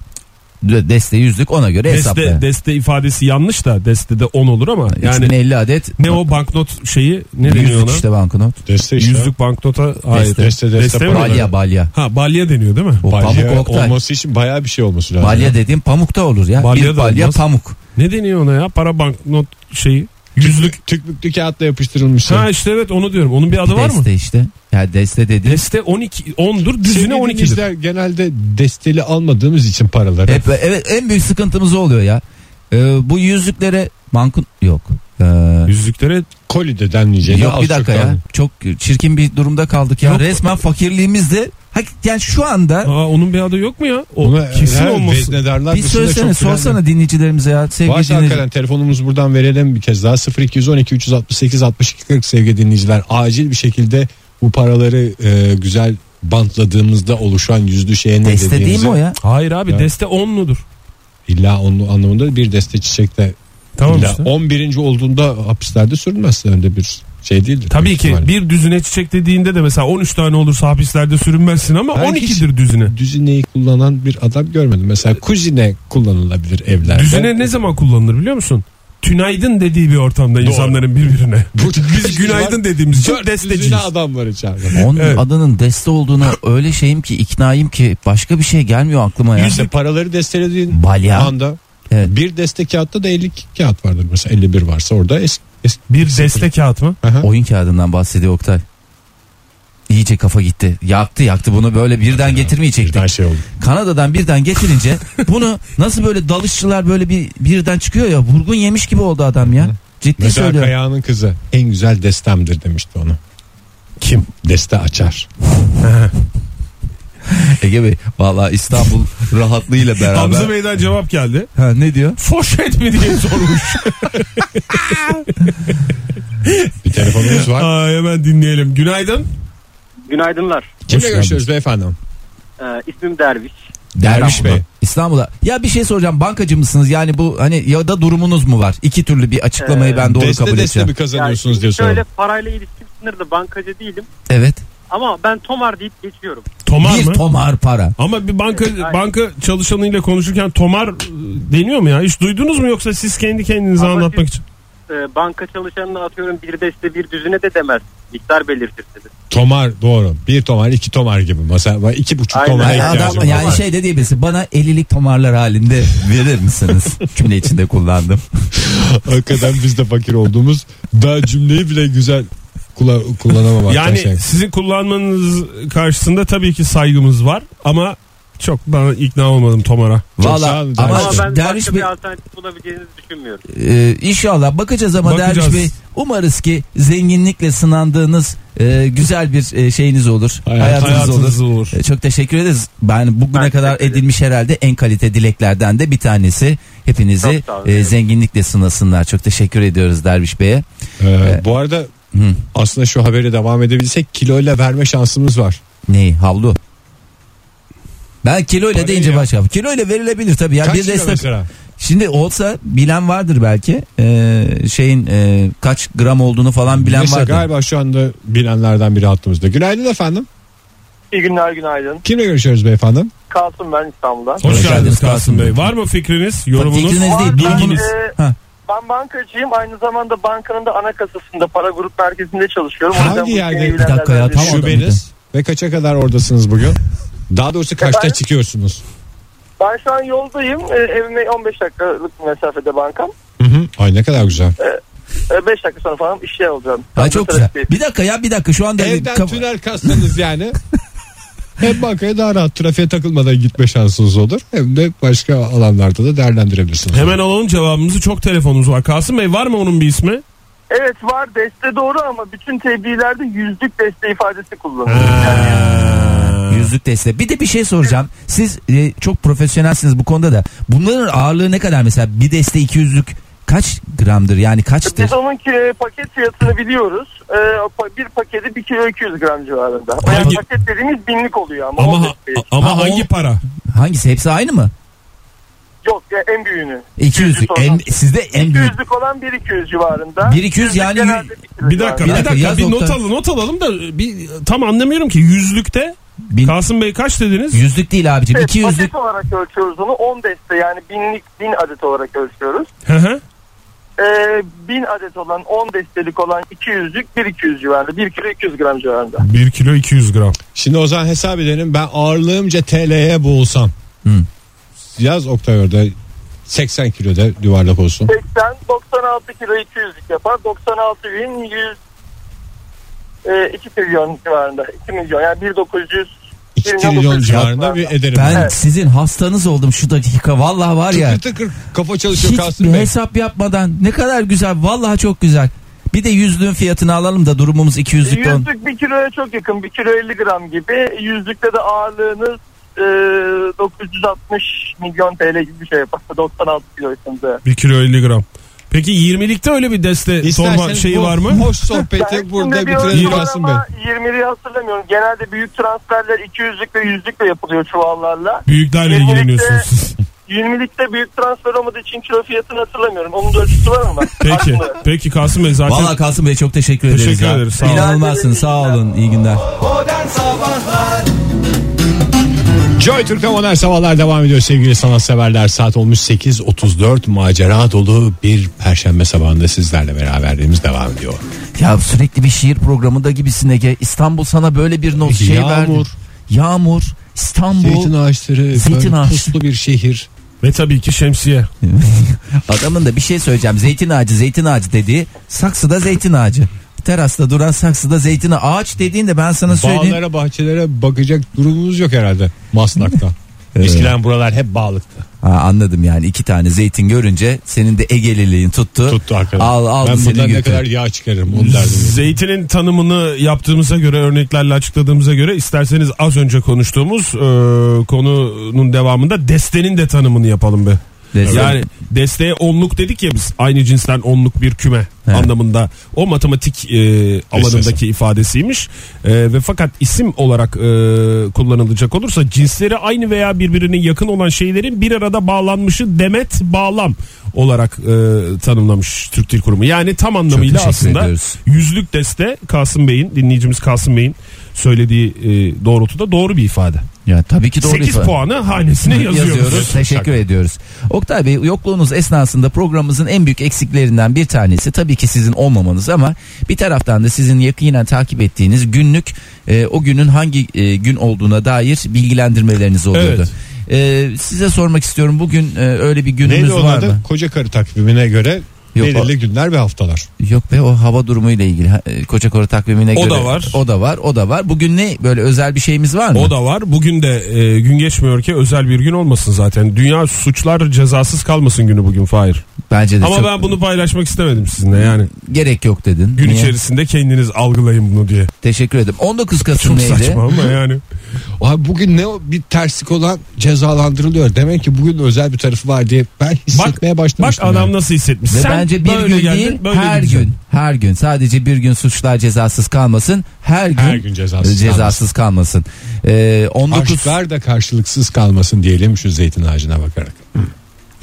S4: D- Deste yüzlük ona göre
S5: Deste,
S4: hesaplayın.
S5: deste ifadesi yanlış da destede 10 olur ama yani
S4: 3050 adet
S5: ne o banknot şeyi ne deniyor
S4: yüzlük
S5: ona?
S4: işte banknot.
S3: Deste işte.
S5: Yüzlük banknota hayır.
S4: Deste.
S3: Deste, deste
S5: Deste mi?
S3: para.
S4: Balya balya.
S5: Ha balya deniyor değil mi?
S4: O
S3: Balya
S4: pamuk Oktay.
S3: olması için bayağı bir şey olması lazım.
S4: Balya dediğim pamukta olur ya.
S5: Balya
S4: bir
S5: da
S4: balya
S5: olmaz.
S4: pamuk.
S5: Ne deniyor ona ya? Para banknot şeyi. Yüzlük.
S3: Yüzlük tükmüklü kağıtla yapıştırılmış.
S5: Ha işte evet onu diyorum. Onun bir adı var mı?
S4: Deste işte. Ya deste dediğim
S5: Deste 12 10'dur,
S3: Sevgili
S5: düzüne 12'dir.
S3: dinleyiciler, genelde desteli almadığımız için paraları.
S4: Hep evet en büyük sıkıntımız o oluyor ya. Ee, bu yüzüklere bankın yok. Ee,
S5: Yüzlüklere
S3: Kolide denmeyeceğini
S4: yok
S3: az
S4: bir dakika
S3: çok
S4: ya.
S3: anladım.
S4: Çok çirkin bir durumda kaldık ya.
S5: Yok.
S4: Resmen fakirliğimizde. Hakikaten yani şu anda
S5: Aa, onun bir adı yok mu ya? O
S3: Buna e,
S5: kesin
S3: her
S5: olması.
S3: veznedarlar
S4: bir
S3: dışında
S4: söylesene
S3: çok bilen-
S4: sorsana dinleyicilerimize ya sevgili
S3: Varsa
S4: dinleyiciler.
S3: hakikaten telefonumuzu buradan verelim bir kez daha 0212 368 62 40 sevgili dinleyiciler acil bir şekilde bu paraları e, güzel bantladığımızda oluşan yüzlü şeye ne
S4: Deste değil
S3: dediğimizi
S4: mi o ya?
S5: Hayır abi
S3: Ya.
S5: deste 10'ludur.
S3: illa onun anlamında bir deste çiçekte
S5: Tamam
S3: illa
S5: işte.
S3: 11. olduğunda hapislerde sürülmezse öyle bir şey değildir.
S5: Tabii
S3: büyük
S5: ki
S3: ihtimalle.
S5: bir düzüne çiçek dediğinde de mesela 13 tane olursa hapislerde sürünmezsin ama
S3: Ben
S5: 12'dir düzüne.
S3: düzineyi kullanan bir adam görmedim. Mesela kuzine kullanılabilir evlerde.
S5: Düzüne ne zaman kullanılır biliyor musun? Tünaydın dediği bir ortamda insanların birbirine.
S3: Burada
S5: Biz günaydın dediğimiz için
S3: Dört düzine
S5: desteciyiz.
S3: adam var içeride.
S4: Onun
S5: Evet.
S4: adının deste olduğuna öyle şeyim ki iknaayım ki başka bir şey gelmiyor aklıma ya.
S3: İşte paraları destelediğin
S4: Balya.
S3: anda
S4: Evet.
S3: bir deste kağıtta da 50 kağıt vardır. Mesela 51 varsa orada eski.
S5: Bir deste kağıt mı?
S4: Oyun kağıdından bahsediyor Oktay. İyice kafa gitti. Yaktı yaktı bunu böyle birden getirmeyecektik.
S3: Birden şey oldu.
S4: Kanada'dan birden getirince bunu nasıl böyle dalışçılar böyle bir birden çıkıyor ya vurgun yemiş gibi oldu adam ya. Ciddi
S3: Mesela
S4: söylüyorum.
S3: Kaya'nın kızı en güzel destemdir demişti onu. Kim? Deste açar.
S4: Ege Bey valla İstanbul rahatlığıyla
S5: Hamza Bey'den cevap geldi.
S4: Ha, ne diyor?
S5: Foşet mi diye sormuş.
S3: Bir telefonumuz var.
S5: Aa, hemen dinleyelim. Günaydın.
S6: Günaydınlar.
S3: Kimle
S4: Hoş
S3: görüşüyoruz beyefendi?
S6: Ee, ismim Derviş.
S3: Derviş
S4: İstanbul'da.
S3: Bey.
S4: İstanbul'da. Ya bir şey soracağım bankacı mısınız? Yani bu hani ya da durumunuz mu var? İki türlü bir açıklamayı
S6: Ee,
S4: ben doğru
S3: deste
S4: kabul
S3: deste
S4: edeceğim.
S3: mi kazanıyorsunuz
S6: Yani
S3: diye
S6: Şöyle
S3: soralım.
S6: parayla ilişkim sınırlı bankacı değilim.
S4: Evet.
S6: Ama ben Tomar deyip geçiyorum.
S5: Tomar
S4: bir
S5: mı?
S4: tomar para.
S5: Ama bir banka
S6: Evet, aynen.
S5: banka çalışanıyla konuşurken tomar e, deniyor mu ya? Hiç duydunuz mu yoksa siz kendi kendinize
S6: Ama
S5: anlatmak
S6: siz-
S5: için?
S6: Ee, banka çalışanına atıyorum bir deste bir düzüne de demez. Miktar belirtirsiniz.
S3: Tomar doğru. Bir tomar iki tomar gibi. Mesela iki buçuk
S6: Aynen.
S3: tomara
S4: Yani,
S6: ihtiyacım
S3: ihtiyacım
S4: adam,
S3: var.
S4: yani şey de diyebilirsin bana 50'lik tomarlar halinde verir misiniz? Cümle içinde kullandım.
S3: Hakikaten biz de fakir olduğumuz daha cümleyi bile güzel kula- kullanamamaktan
S5: Yani
S3: şey.
S5: sizin kullanmanız karşısında tabii ki saygımız var ama Çok ben ikna olmadım Tomar'a.
S3: Çok
S4: Valla
S3: sağ olun
S4: ama
S3: Derviş
S6: Ama ben
S4: Derviş
S6: başka
S4: Bey
S6: bir alternatif bulabileceğinizi düşünmüyorum.
S4: e, inşallah bakacağız ama
S5: Bakacağız.
S4: Derviş Bey umarız ki zenginlikle sınandığınız e, güzel bir e, şeyiniz olur.
S3: Hayat-
S4: hayatınız, olur.
S5: Hayatınız olur.
S4: E, Çok teşekkür ederiz. Ben bugüne kadar
S6: Ben teşekkür ederim.
S4: edilmiş herhalde en kalite dileklerden de bir tanesi. Hepinizi
S6: Çok sağ olun.
S4: e, zenginlikle sınasınlar. Çok teşekkür ediyoruz Derviş Bey'e.
S3: Ee, bu arada
S4: Hı.
S3: aslında şu haberi devam edebilsek kiloyla verme şansımız var.
S4: Neyi? Havlu. Ben kiloyla
S3: Parayı
S4: deyince
S3: ya.
S4: başka. Kiloyla verilebilir tabii ya.
S3: Kaç
S4: bir
S3: kilo
S4: destek.
S3: mesela?
S4: Şimdi olsa bilen vardır belki. Ee, şeyin e, kaç gram olduğunu falan bilen
S3: Neyse,
S4: vardır.
S3: galiba şu anda bilenlerden biri hattımızda. Günaydın efendim.
S6: İyi günler günaydın.
S3: Kimle görüşüyoruz beyefendi?
S6: Kalsın ben İstanbul'dan.
S5: Hoş,
S4: Hoş
S5: geldiniz
S4: geldiniz
S5: Kasım
S4: Kasım
S5: Bey.
S4: Bey.
S5: Var mı fikriniz, yorumunuz?
S4: Fikriniz değil,
S5: bilginiz.
S4: bilginiz. Ha.
S6: Ee, Ben bankacıyım. Aynı zamanda bankanın da ana kasasında para grup merkezinde çalışıyorum. O
S3: Hangi
S6: yüzden bu
S3: yerde?
S6: konuyu
S3: Bir
S6: bilenlerden
S4: dakika ya, tam
S6: biriyim.
S4: orada.
S3: Şubeniz ve kaça kadar oradasınız bugün? Daha doğrusu kaçta
S6: Efendim?
S3: çıkıyorsunuz?
S6: Ben şu an yoldayım. Ee, evime 15 dakikalık mesafede bankam.
S3: Hı hı. Ay ne kadar güzel.
S6: 5 dakika sonra falan işe olacağım.
S4: Ay çok güzel. Bir dakika ya bir dakika şu anda
S3: Evden
S4: kaf-
S3: tünel kastınız yani. Hem bankaya daha rahat trafiğe takılmadan gitme şansınız olur. Hem de başka alanlarda da değerlendirebilirsiniz.
S5: Hemen alalım cevabımızı. Çok telefonumuz var. Kasım Bey var mı onun bir ismi?
S6: Evet var deste doğru ama bütün tebliğlerde yüzlük deste ifadesi kullanılıyor.
S4: yüzlük deste. Bir de bir şey soracağım. Siz e, çok profesyonelsiniz bu konuda da. Bunların ağırlığı ne kadar mesela bir deste 200'lük kaç gramdır yani kaçtır?
S6: Biz onun ki paket fiyatını biliyoruz. Ee, pa- bir paketi 1 kilo 200 gram civarında. O
S5: Hangi-
S6: yani paket dediğimiz binlik oluyor ama.
S5: Ama
S6: 15 değil.
S5: ama
S4: Ha, o-
S5: hangi para?
S4: Hangisi hepsi aynı mı?
S6: Yok ya en büyüğünü.
S4: 200'lük. En, sizde en büyük.
S6: 200'lük olan 1 200 civarında.
S4: 1-200 yani
S6: Genelde
S4: yü-
S6: bir kilo
S5: Bir dakika,
S4: Bir
S5: bir
S6: civarında.
S4: dakika,
S5: dakika. Bir,
S4: yaz
S5: not
S4: nokta.
S5: alalım, not alalım da bir tam anlamıyorum ki yüzlükte
S4: Bin,
S5: Kasım Bey kaç dediniz?
S4: yüzlük değil abicim.
S6: Evet,
S4: 200'lük.
S6: Paket olarak ölçüyoruz onu. 10 deste yani binlik bin adet olarak ölçüyoruz.
S5: Hı hı.
S6: Ee, 1000 adet olan 10 destelik olan 200'lük 1 200 civarında. 1 kilo 200 gram civarında.
S5: 1 kilo 200 gram.
S3: Şimdi o zaman hesap edelim ben ağırlığımca TL'ye boğulsam.
S4: Hı.
S3: Yaz Oktay orada 80 kiloda yuvarlak olsun.
S6: 80 96 kilo 200'lük yapar. 96 bin 100 e, 2 trilyon civarında. 2 milyon yani 1900
S3: 2
S6: 1
S3: trilyon civarında bir ederim.
S4: Ben
S6: Evet.
S4: sizin hastanız oldum şu dakika. Vallahi var ya.
S3: Tıkır tıkır kafa çalışıyor
S4: Hiç
S3: Kasım Bey.
S4: hesap yapmadan ne kadar güzel vallahi çok güzel. Bir de yüzlüğün fiyatını alalım da durumumuz 200'lük de on-
S6: Yüzlük 1 kiloya çok yakın. 1 kilo 50 gram gibi. Yüzlükte de ağırlığınız e, 960 milyon TL gibi bir şey yapar. 96 kilo içinde.
S5: 1 kilo 50 gram. Peki 20'likte öyle bir deste sorma
S3: İsterseniz
S5: şeyi
S3: bu
S5: var mı?
S3: Hoş sohbeti
S6: şimdi
S3: burada
S6: bir ölçü
S3: bitirelim
S6: var
S3: Kasım Bey.
S6: ama 20'liyi hatırlamıyorum. Genelde büyük transferler 200'lük ve 100'lükle yapılıyor çuvallarla.
S5: Büyüklerle
S6: Yirmilikte-
S5: ilgileniyorsunuz. siz.
S6: 20'likte büyük transfer olmadığı için kilo fiyatını hatırlamıyorum. Onun da ölçüsü var ama.
S5: Peki.
S6: Aklımda.
S5: Peki Kasım Bey zaten
S4: Vallahi Kasım Bey çok teşekkür ederiz.
S5: Teşekkür
S4: ya.
S5: ederiz, sağ olun.
S4: İnanılmazsın sağ olun iyi günler.
S2: Modern Sabahlar
S3: Joy Türk'te Modern Sabahlar devam ediyor sevgili sanatseverler. Saat olmuş 8.34 macera dolu bir perşembe sabahında sizlerle beraberliğimiz devam ediyor.
S4: Ya sürekli bir şiir programında gibisin Ege. İstanbul sana böyle bir not şey verdi.
S3: Yağmur.
S4: Yağmur. İstanbul.
S3: Zeytin ağaçları,
S4: Zeytin
S3: böyle
S4: ağaçları.
S3: puslu bir şehir.
S5: ve tabii ki şemsiye.
S4: Adamın da bir şey söyleyeceğim. Zeytin ağacı zeytin ağacı dediği saksıda zeytin ağacı. Terasta duran saksıda zeytin ağacı. Ağaç dediğin de ben sana söyleyeyim.
S3: Bağlara bahçelere bakacak durumumuz yok herhalde Maslak'ta. Ee, Eskiden buralar hep bağlıktı.
S4: Ha, anladım yani iki tane zeytin görünce senin de Egeliliğin tuttu.
S3: Tuttu arkadaş.
S4: Al al
S3: ben
S4: seni
S3: buradan ne
S4: götür.
S3: kadar yağ çıkarırım onu derdim.
S5: Zeytinin tanımını yaptığımıza göre örneklerle açıkladığımıza göre isterseniz az önce konuştuğumuz e, konunun devamında destenin de tanımını yapalım be.
S4: Deste-
S5: Yani desteye onluk dedik ya biz aynı cinsten onluk bir küme
S4: He.
S5: anlamında o matematik e, alanındaki ifadesiymiş E, ve fakat isim olarak e, kullanılacak olursa cinsleri aynı veya birbirine yakın olan şeylerin bir arada bağlanmışı demet bağlam olarak e, tanımlamış Türk Dil Kurumu. Yani tam anlamıyla
S4: teşekkür
S5: aslında
S4: ediyoruz.
S5: yüzlük deste Kasım Bey'in dinleyicimiz Kasım Bey'in söylediği e, doğrultuda doğru bir ifade.
S4: Ya tabii ki doğru
S5: 8
S4: ifade.
S5: puanı hanesine yazıyoruz.
S4: Teşekkür ediyoruz. Oktay Bey yokluğunuz esnasında programımızın en büyük eksiklerinden bir tanesi tabii ki sizin olmamanız ama bir taraftan da sizin yakinen takip ettiğiniz günlük e, o günün hangi e, gün olduğuna dair bilgilendirmeleriniz oluyordu. E, size sormak istiyorum bugün e, öyle bir günümüz
S3: Neydi onun
S4: var
S3: adı?
S4: mı?
S3: Koca karı takvimine göre
S4: Yok,
S3: Belirli günler ve haftalar.
S4: Yok be o hava durumuyla ilgili. Ha, e, Koca Koro takvimine
S5: O
S4: göre.
S5: da var.
S4: O da var. O da var. Bugün ne böyle özel bir şeyimiz var mı?
S5: O da var. Bugün de e, gün geçmiyor ki özel bir gün olmasın zaten. Dünya suçlar cezasız kalmasın günü bugün Fahir.
S4: Bence de
S5: Ama
S4: çok
S5: ben bunu paylaşmak istemedim sizinle yani.
S4: gerek yok dedin.
S5: Gün
S4: Niye?
S5: içerisinde kendiniz algılayın bunu diye.
S4: Teşekkür ederim. 19 Kasım
S5: Çok
S4: neydi?
S5: saçma ama yani.
S3: Abi bugün ne o- bir terslik olan cezalandırılıyor. Demek ki bugün özel bir tarafı var diye ben hissetmeye
S5: Bak
S3: başlamıştım.
S5: adam
S3: yani.
S5: nasıl hissetmiş.
S4: Ve
S5: Sen
S4: bence bir
S5: böyle
S4: gün
S5: geldin,
S4: değil
S5: böyle
S4: her
S5: gideceksin.
S4: gün. Her gün sadece bir gün suçlar cezasız kalmasın. Her gün,
S3: Her gün cezasız
S4: cezasız kalmasın. Ee, 19
S3: Aşklar da karşılıksız kalmasın diyelim şu zeytin ağacına bakarak.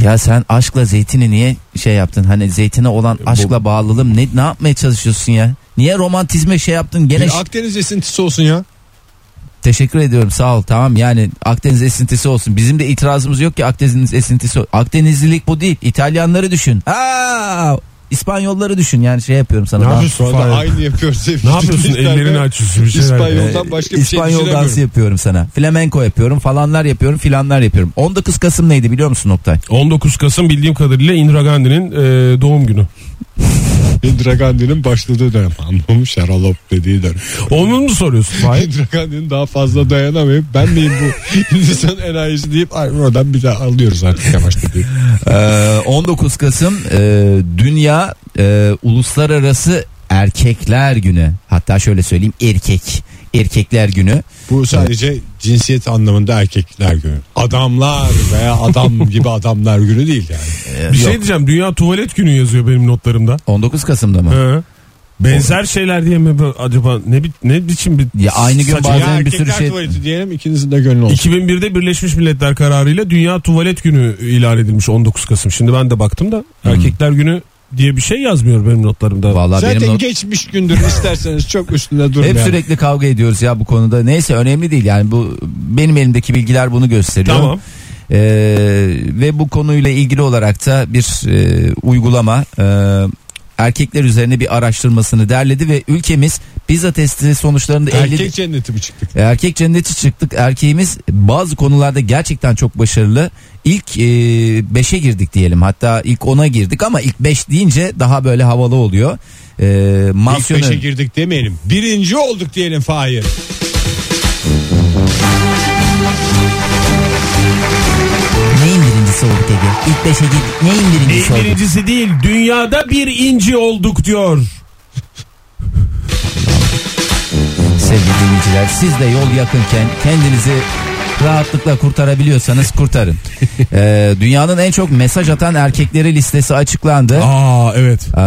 S4: Ya sen aşkla zeytini niye şey yaptın? Hani zeytine olan aşkla bağlılığım ne ne yapmaya çalışıyorsun ya? Niye romantizme şey yaptın? Gene
S3: Bir Akdeniz esintisi olsun ya.
S4: Teşekkür ediyorum sağ ol tamam yani Akdeniz esintisi olsun. Bizim de itirazımız yok ki Akdeniz esintisi. Akdenizlilik bu değil. İtalyanları düşün. Aa, İspanyolları düşün yani şey yapıyorum sana.
S5: Ne
S4: Daha-
S5: yapıyorsun?
S3: Şu anda
S5: Fahir?
S3: aynı yapıyoruz. sevgili
S5: Ne yapıyorsun?
S3: dinleyiciler.
S5: Ellerini açıyorsun bir şeyler.
S3: İspanyol'dan başka bir şey
S4: Ee, İspanyol dansı
S3: düşünemiyorum.
S4: yapıyorum sana. Flamenco yapıyorum falanlar yapıyorum filanlar yapıyorum. 19 Kasım neydi biliyor musun Oktay?
S5: 19 Kasım bildiğim kadarıyla Indira Gandhi'nin e, doğum günü.
S3: Indira Gandhi'nin başladığı dönem. Anlamış Şaralop dediği dönem.
S5: Onu mu soruyorsun Fahir?
S3: Indira Gandhi'nin daha fazla dayanamayıp ben miyim bu insan enayisi deyip ay, oradan bir daha alıyoruz artık yavaş dediği.
S4: Ee, 19 Kasım e, Dünya e, Uluslararası Erkekler Günü. Hatta şöyle söyleyeyim erkek. Erkekler Günü.
S3: Bu sadece cinsiyet anlamında erkekler günü. Adamlar veya adam gibi adamlar günü değil yani.
S5: Bir şey diyeceğim. Dünya tuvalet günü yazıyor benim notlarımda.
S4: 19 Kasım'da mı?
S5: He. Benzer şeyler diye mi bu- acaba ne bi- ne biçim bir
S4: Ya aynı gün
S5: saçma-
S4: bazen
S5: Ya
S4: bir sürü
S3: Erkekler
S4: şey
S3: tuvaleti diyelim ikinizin de gönlü olsun.
S5: 2001'de Birleşmiş Milletler kararıyla Dünya Tuvalet Günü ilan edilmiş 19 Kasım. Şimdi ben de baktım da Erkekler Günü diye bir şey yazmıyor benim notlarımda.
S4: Vallahi
S3: Zaten
S4: benim not-
S3: geçmiş gündür isterseniz çok üstünde durmayalım.
S4: hep sürekli kavga ediyoruz ya bu konuda. Neyse önemli değil yani bu benim elimdeki bilgiler bunu gösteriyor.
S5: Tamam.
S4: Ee, ve bu konuyla ilgili olarak da bir e, uygulama e, erkekler üzerine bir araştırmasını derledi ve ülkemiz pizza testi sonuçlarında 50
S3: Erkek cenneti mi çıktık?
S4: Erkek cenneti çıktık. Erkeğimiz bazı konularda gerçekten çok başarılı. İlk 5'e girdik diyelim. Hatta ilk 10'a girdik ama ilk 5 deyince daha böyle havalı oluyor. E,
S3: İlk
S4: mansiyonu
S3: beşe girdik demeyelim. Birinci olduk diyelim Fahir.
S4: neyin birincisi olduk Ege? İlk 5'e girdik. Neyin birincisi
S5: Neyin
S4: olduk?
S5: birincisi değil dünyada bir inci olduk diyor.
S4: Sevgili dinleyiciler siz de yol yakınken kendinizi rahatlıkla kurtarabiliyorsanız kurtarın. E, dünyanın en çok mesaj atan erkekleri listesi açıklandı.
S5: Aa evet.
S4: Ee,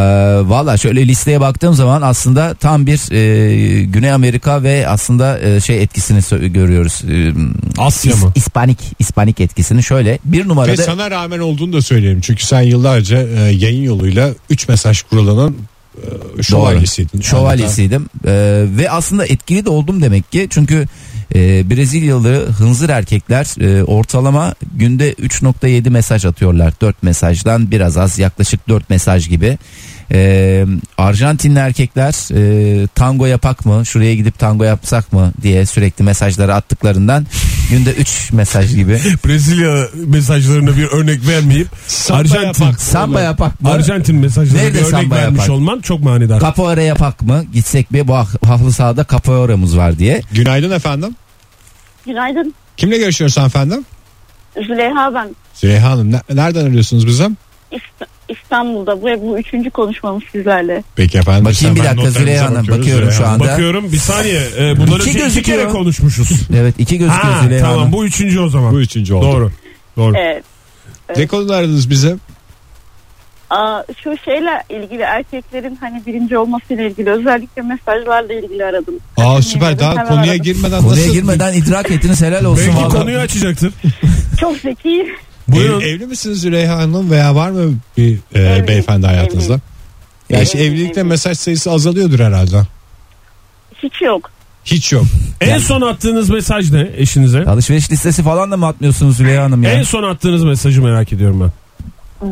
S4: Valla şöyle listeye baktığım zaman aslında tam bir e, Güney Amerika ve aslında e, şey etkisini sö- görüyoruz. Ee,
S5: Asya
S4: İs-
S5: mı?
S4: İspanik, İspanik etkisini şöyle bir
S3: Ve
S4: numarada
S3: sana rağmen olduğunu da söyleyelim. Çünkü sen yıllarca e, yayın yoluyla 3 mesaj kuralanan e, şövalyesiydin.
S4: Doğru. Şövalyesiydim. Ee, ve aslında etkili de oldum demek ki. Çünkü e, Brezilyalı hınzır erkekler e, ortalama günde 3.7 mesaj atıyorlar. 4 mesajdan biraz az yaklaşık 4 mesaj gibi. Ee, Arjantinli erkekler e, tango yapak mı şuraya gidip tango yapsak mı diye sürekli mesajları attıklarından günde 3 mesaj gibi.
S5: Brezilya mesajlarına bir örnek vermeyip
S3: Samba
S5: Arjantin
S3: yapak.
S4: Samba yapak mı?
S5: Arjantin mesajlarına
S4: Nerede
S5: bir örnek
S4: samba
S5: vermiş
S4: yapak?
S5: olman çok manidar.
S4: Capoeira yapak mı? Gitsek bir bu ha- haflı sahada capoeiramız var diye.
S3: Günaydın efendim.
S7: Günaydın.
S3: Kimle görüşüyoruz efendim?
S7: Züleyha ben
S3: Züleyha Hanım ne- nereden arıyorsunuz bizim?
S7: İst- İstanbul'da. Bu, bu üçüncü konuşmamız sizlerle.
S3: Peki efendim.
S4: Bakayım
S3: Sen
S4: bir
S3: ben
S4: dakika
S3: notlarınıza
S4: Züleyha Hanım,
S3: bakıyoruz.
S4: bakıyorum
S3: Züleyha
S4: şu
S3: Hanım.
S4: anda.
S5: Bakıyorum bir saniye e, bunları
S4: İki
S5: önce iki,
S4: gözüküyor.
S5: kere konuşmuşuz.
S4: Evet iki gözüküyor
S5: ha,
S4: Züleyha Hanım.
S5: tamam bu üçüncü o zaman.
S3: Bu üçüncü oldu.
S5: Doğru. Doğru.
S7: Evet.
S3: Ne konuda aradınız bize?
S7: Aa, şu şeyle ilgili erkeklerin hani birinci olmasıyla ilgili özellikle mesajlarla ilgili aradım.
S3: Aa
S7: Hani
S3: süper
S7: yemedim,
S3: daha
S7: hemen
S3: konuya
S7: aradım.
S3: girmeden
S4: Konuya
S3: nasıl?
S4: girmeden idrak ettiniz helal olsun.
S5: Belki
S4: vallahi.
S5: konuyu açacaktır.
S7: Çok zeki.
S5: Buyurun.
S3: Ev- evli misiniz Züleyha Hanım veya var mı bir e,
S7: Evliyim,
S3: beyefendi hayatınızda?
S7: evliyim.
S3: Gerçi
S7: Evliyim,
S3: evlilikte
S7: evliyim.
S3: mesaj sayısı azalıyordur herhalde.
S7: Hiç yok.
S3: Hiç yok.
S5: En son attığınız mesaj ne eşinize?
S4: Alışveriş listesi falan da mı atmıyorsunuz Züleyha Hanım ya?
S5: En son attığınız mesajı merak ediyorum ben.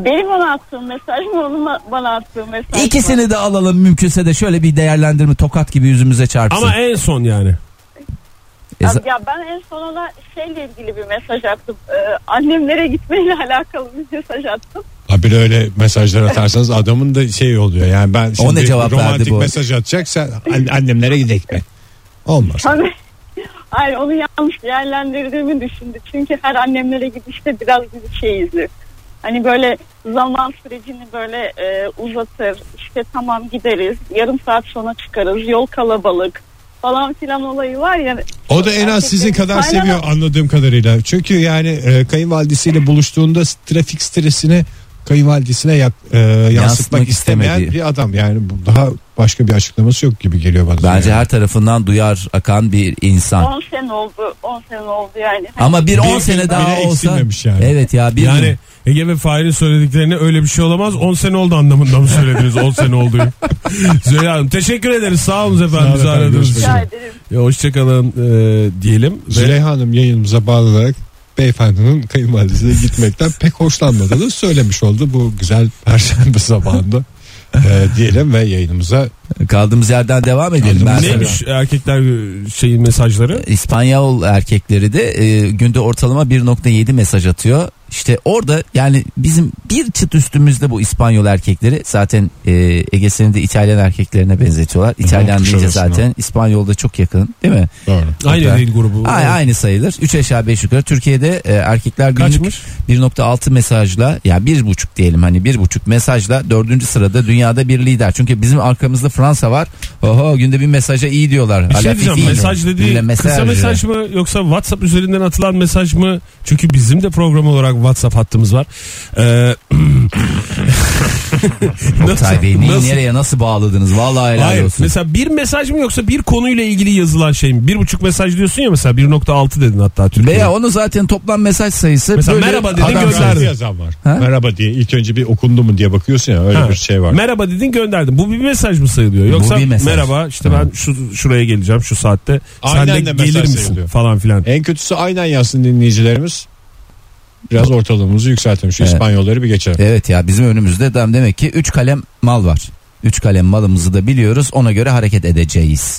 S7: Benim ona attığım mesaj mı onun ma- bana attığı mesaj mı?
S4: İkisini de alalım mümkünse de şöyle bir değerlendirme tokat gibi yüzümüze çarpsın.
S5: Ama en son yani.
S4: E,
S7: Ya,
S4: za-
S7: ya ben en son ona şeyle ilgili bir mesaj attım. Ee, annemlere gitmeyle alakalı bir mesaj attım.
S3: Ha bir öyle mesajlar atarsanız adamın da şey oluyor. Yani ben şimdi
S4: ne cevap verdi
S3: romantik
S4: bu?
S3: mesaj atacak sen an- annemlere gidelim mi? Olmaz.
S7: Tabii. Hayır onu yanlış değerlendirdiğimi düşündü. Çünkü her annemlere gidişte biraz bir şey izler. Hani böyle zaman sürecini böyle e, uzatır. İşte tamam gideriz. Yarım saat sonra çıkarız. Yol kalabalık falan filan olayı var ya.
S3: O da en az sizin
S7: Erkeklerin
S3: kadar
S7: kaynana-
S3: seviyor anladığım kadarıyla. Çünkü yani e, kayınvalidesiyle buluştuğunda trafik stresini kayınvalidesine yak, e, yansıtmak
S4: Yansıtmak
S3: istemeyen
S4: istemediği.
S3: bir adam. Yani bu daha başka bir açıklaması yok gibi geliyor bana.
S4: Bence
S3: Yani.
S4: her tarafından duyar akan bir insan.
S7: 10 sene oldu. 10 sene oldu yani.
S4: Ama bir
S5: Bir
S4: 10 sene
S5: gün
S4: daha
S3: bile
S4: olsa.
S3: eksilmemiş yani.
S4: Evet ya bir
S5: Yani
S4: gün.
S5: Ege ve Fahir'in söylediklerini öyle bir şey olamaz 10 sene oldu anlamında mı söylediniz 10 sene olduğunu. Züleyha Hanım teşekkür ederiz sağ olun efendim
S3: Sağ
S5: bizi
S3: olun efendim,
S5: aradığınız
S3: görüşmek
S5: için.
S7: Rica ederim.
S5: Ya Hoşçakalın e, diyelim. Ve-
S3: Züleyha Hanım yayınımıza bağlı olarak beyefendinin kayınvalidesine gitmekten pek hoşlanmadığını söylemiş oldu bu güzel perşembe sabahında. E, diyelim ve yayınımıza
S4: Kaldığımız yerden devam edelim. Ben
S3: Kaldığımız
S4: sana-
S5: Neymiş erkekler şeyin mesajları?
S4: İspanyol erkekleri de e, günde ortalama 1.7 mesaj atıyor. İşte orada yani bizim bir çıt üstümüzde bu İspanyol erkekleri zaten e, Ege'sini de İtalyan erkeklerine benzetiyorlar. İtalyan deyince
S3: kuşağısına.
S4: zaten İspanyol'da çok yakın değil mi?
S3: doğru.
S5: Aynı
S4: Hatta-
S5: değil grubu.
S4: Ay, aynı sayılır. 3 aşağı 5 yukarı. Türkiye'de e, erkekler günlük
S5: Kaçmış?
S4: 1.6 mesajla ya 1.5 diyelim hani 1.5 mesajla 4. sırada dünyada bir lider. Çünkü bizim arkamızda Fransa var. Oho günde bir mesaja iyi diyorlar.
S5: Bir şey
S4: Ala
S5: diyeceğim
S4: fifi.
S5: mesaj
S4: Günde
S5: dediği
S4: mesaj.
S5: kısa mesaj mı yoksa WhatsApp üzerinden atılan mesaj mı? Çünkü bizim de program olarak WhatsApp hattımız var. Ee,
S4: Oktay Bey neyi
S5: Nasıl?
S4: nereye nasıl bağladınız? Vallahi helal
S5: Hayır.
S4: olsun.
S5: Mesela bir mesaj mı yoksa bir konuyla ilgili yazılan şey mi? Bir buçuk mesaj diyorsun ya mesela 1.6 dedin hatta Türkiye'de.
S4: Veya onu zaten toplam mesaj sayısı
S5: Mesela
S4: böyle-
S5: merhaba dedin
S4: Adam-
S5: gönderdi.
S3: Gönderdi yazan var.
S4: Ha?
S3: Merhaba diye ilk önce bir okundu mu diye bakıyorsun ya öyle
S5: Ha.
S3: bir şey var.
S5: Merhaba dedin gönderdim. Bu bir mesaj mı sayılıyor? Yoksa
S4: bir mesaj.
S5: merhaba işte ben şu şuraya geleceğim şu saatte.
S3: Aynen
S5: Sen de
S3: de mesaj
S5: gelir misin
S3: sayılıyor.
S5: falan filan.
S3: En kötüsü aynen yazsın dinleyicilerimiz. Biraz ortalığımızı yükseltelim. Şu
S4: Evet.
S3: İspanyolları bir geçelim.
S4: Evet ya bizim önümüzde dem demek ki 3 kalem mal var. 3 kalem malımızı da biliyoruz ona göre hareket edeceğiz.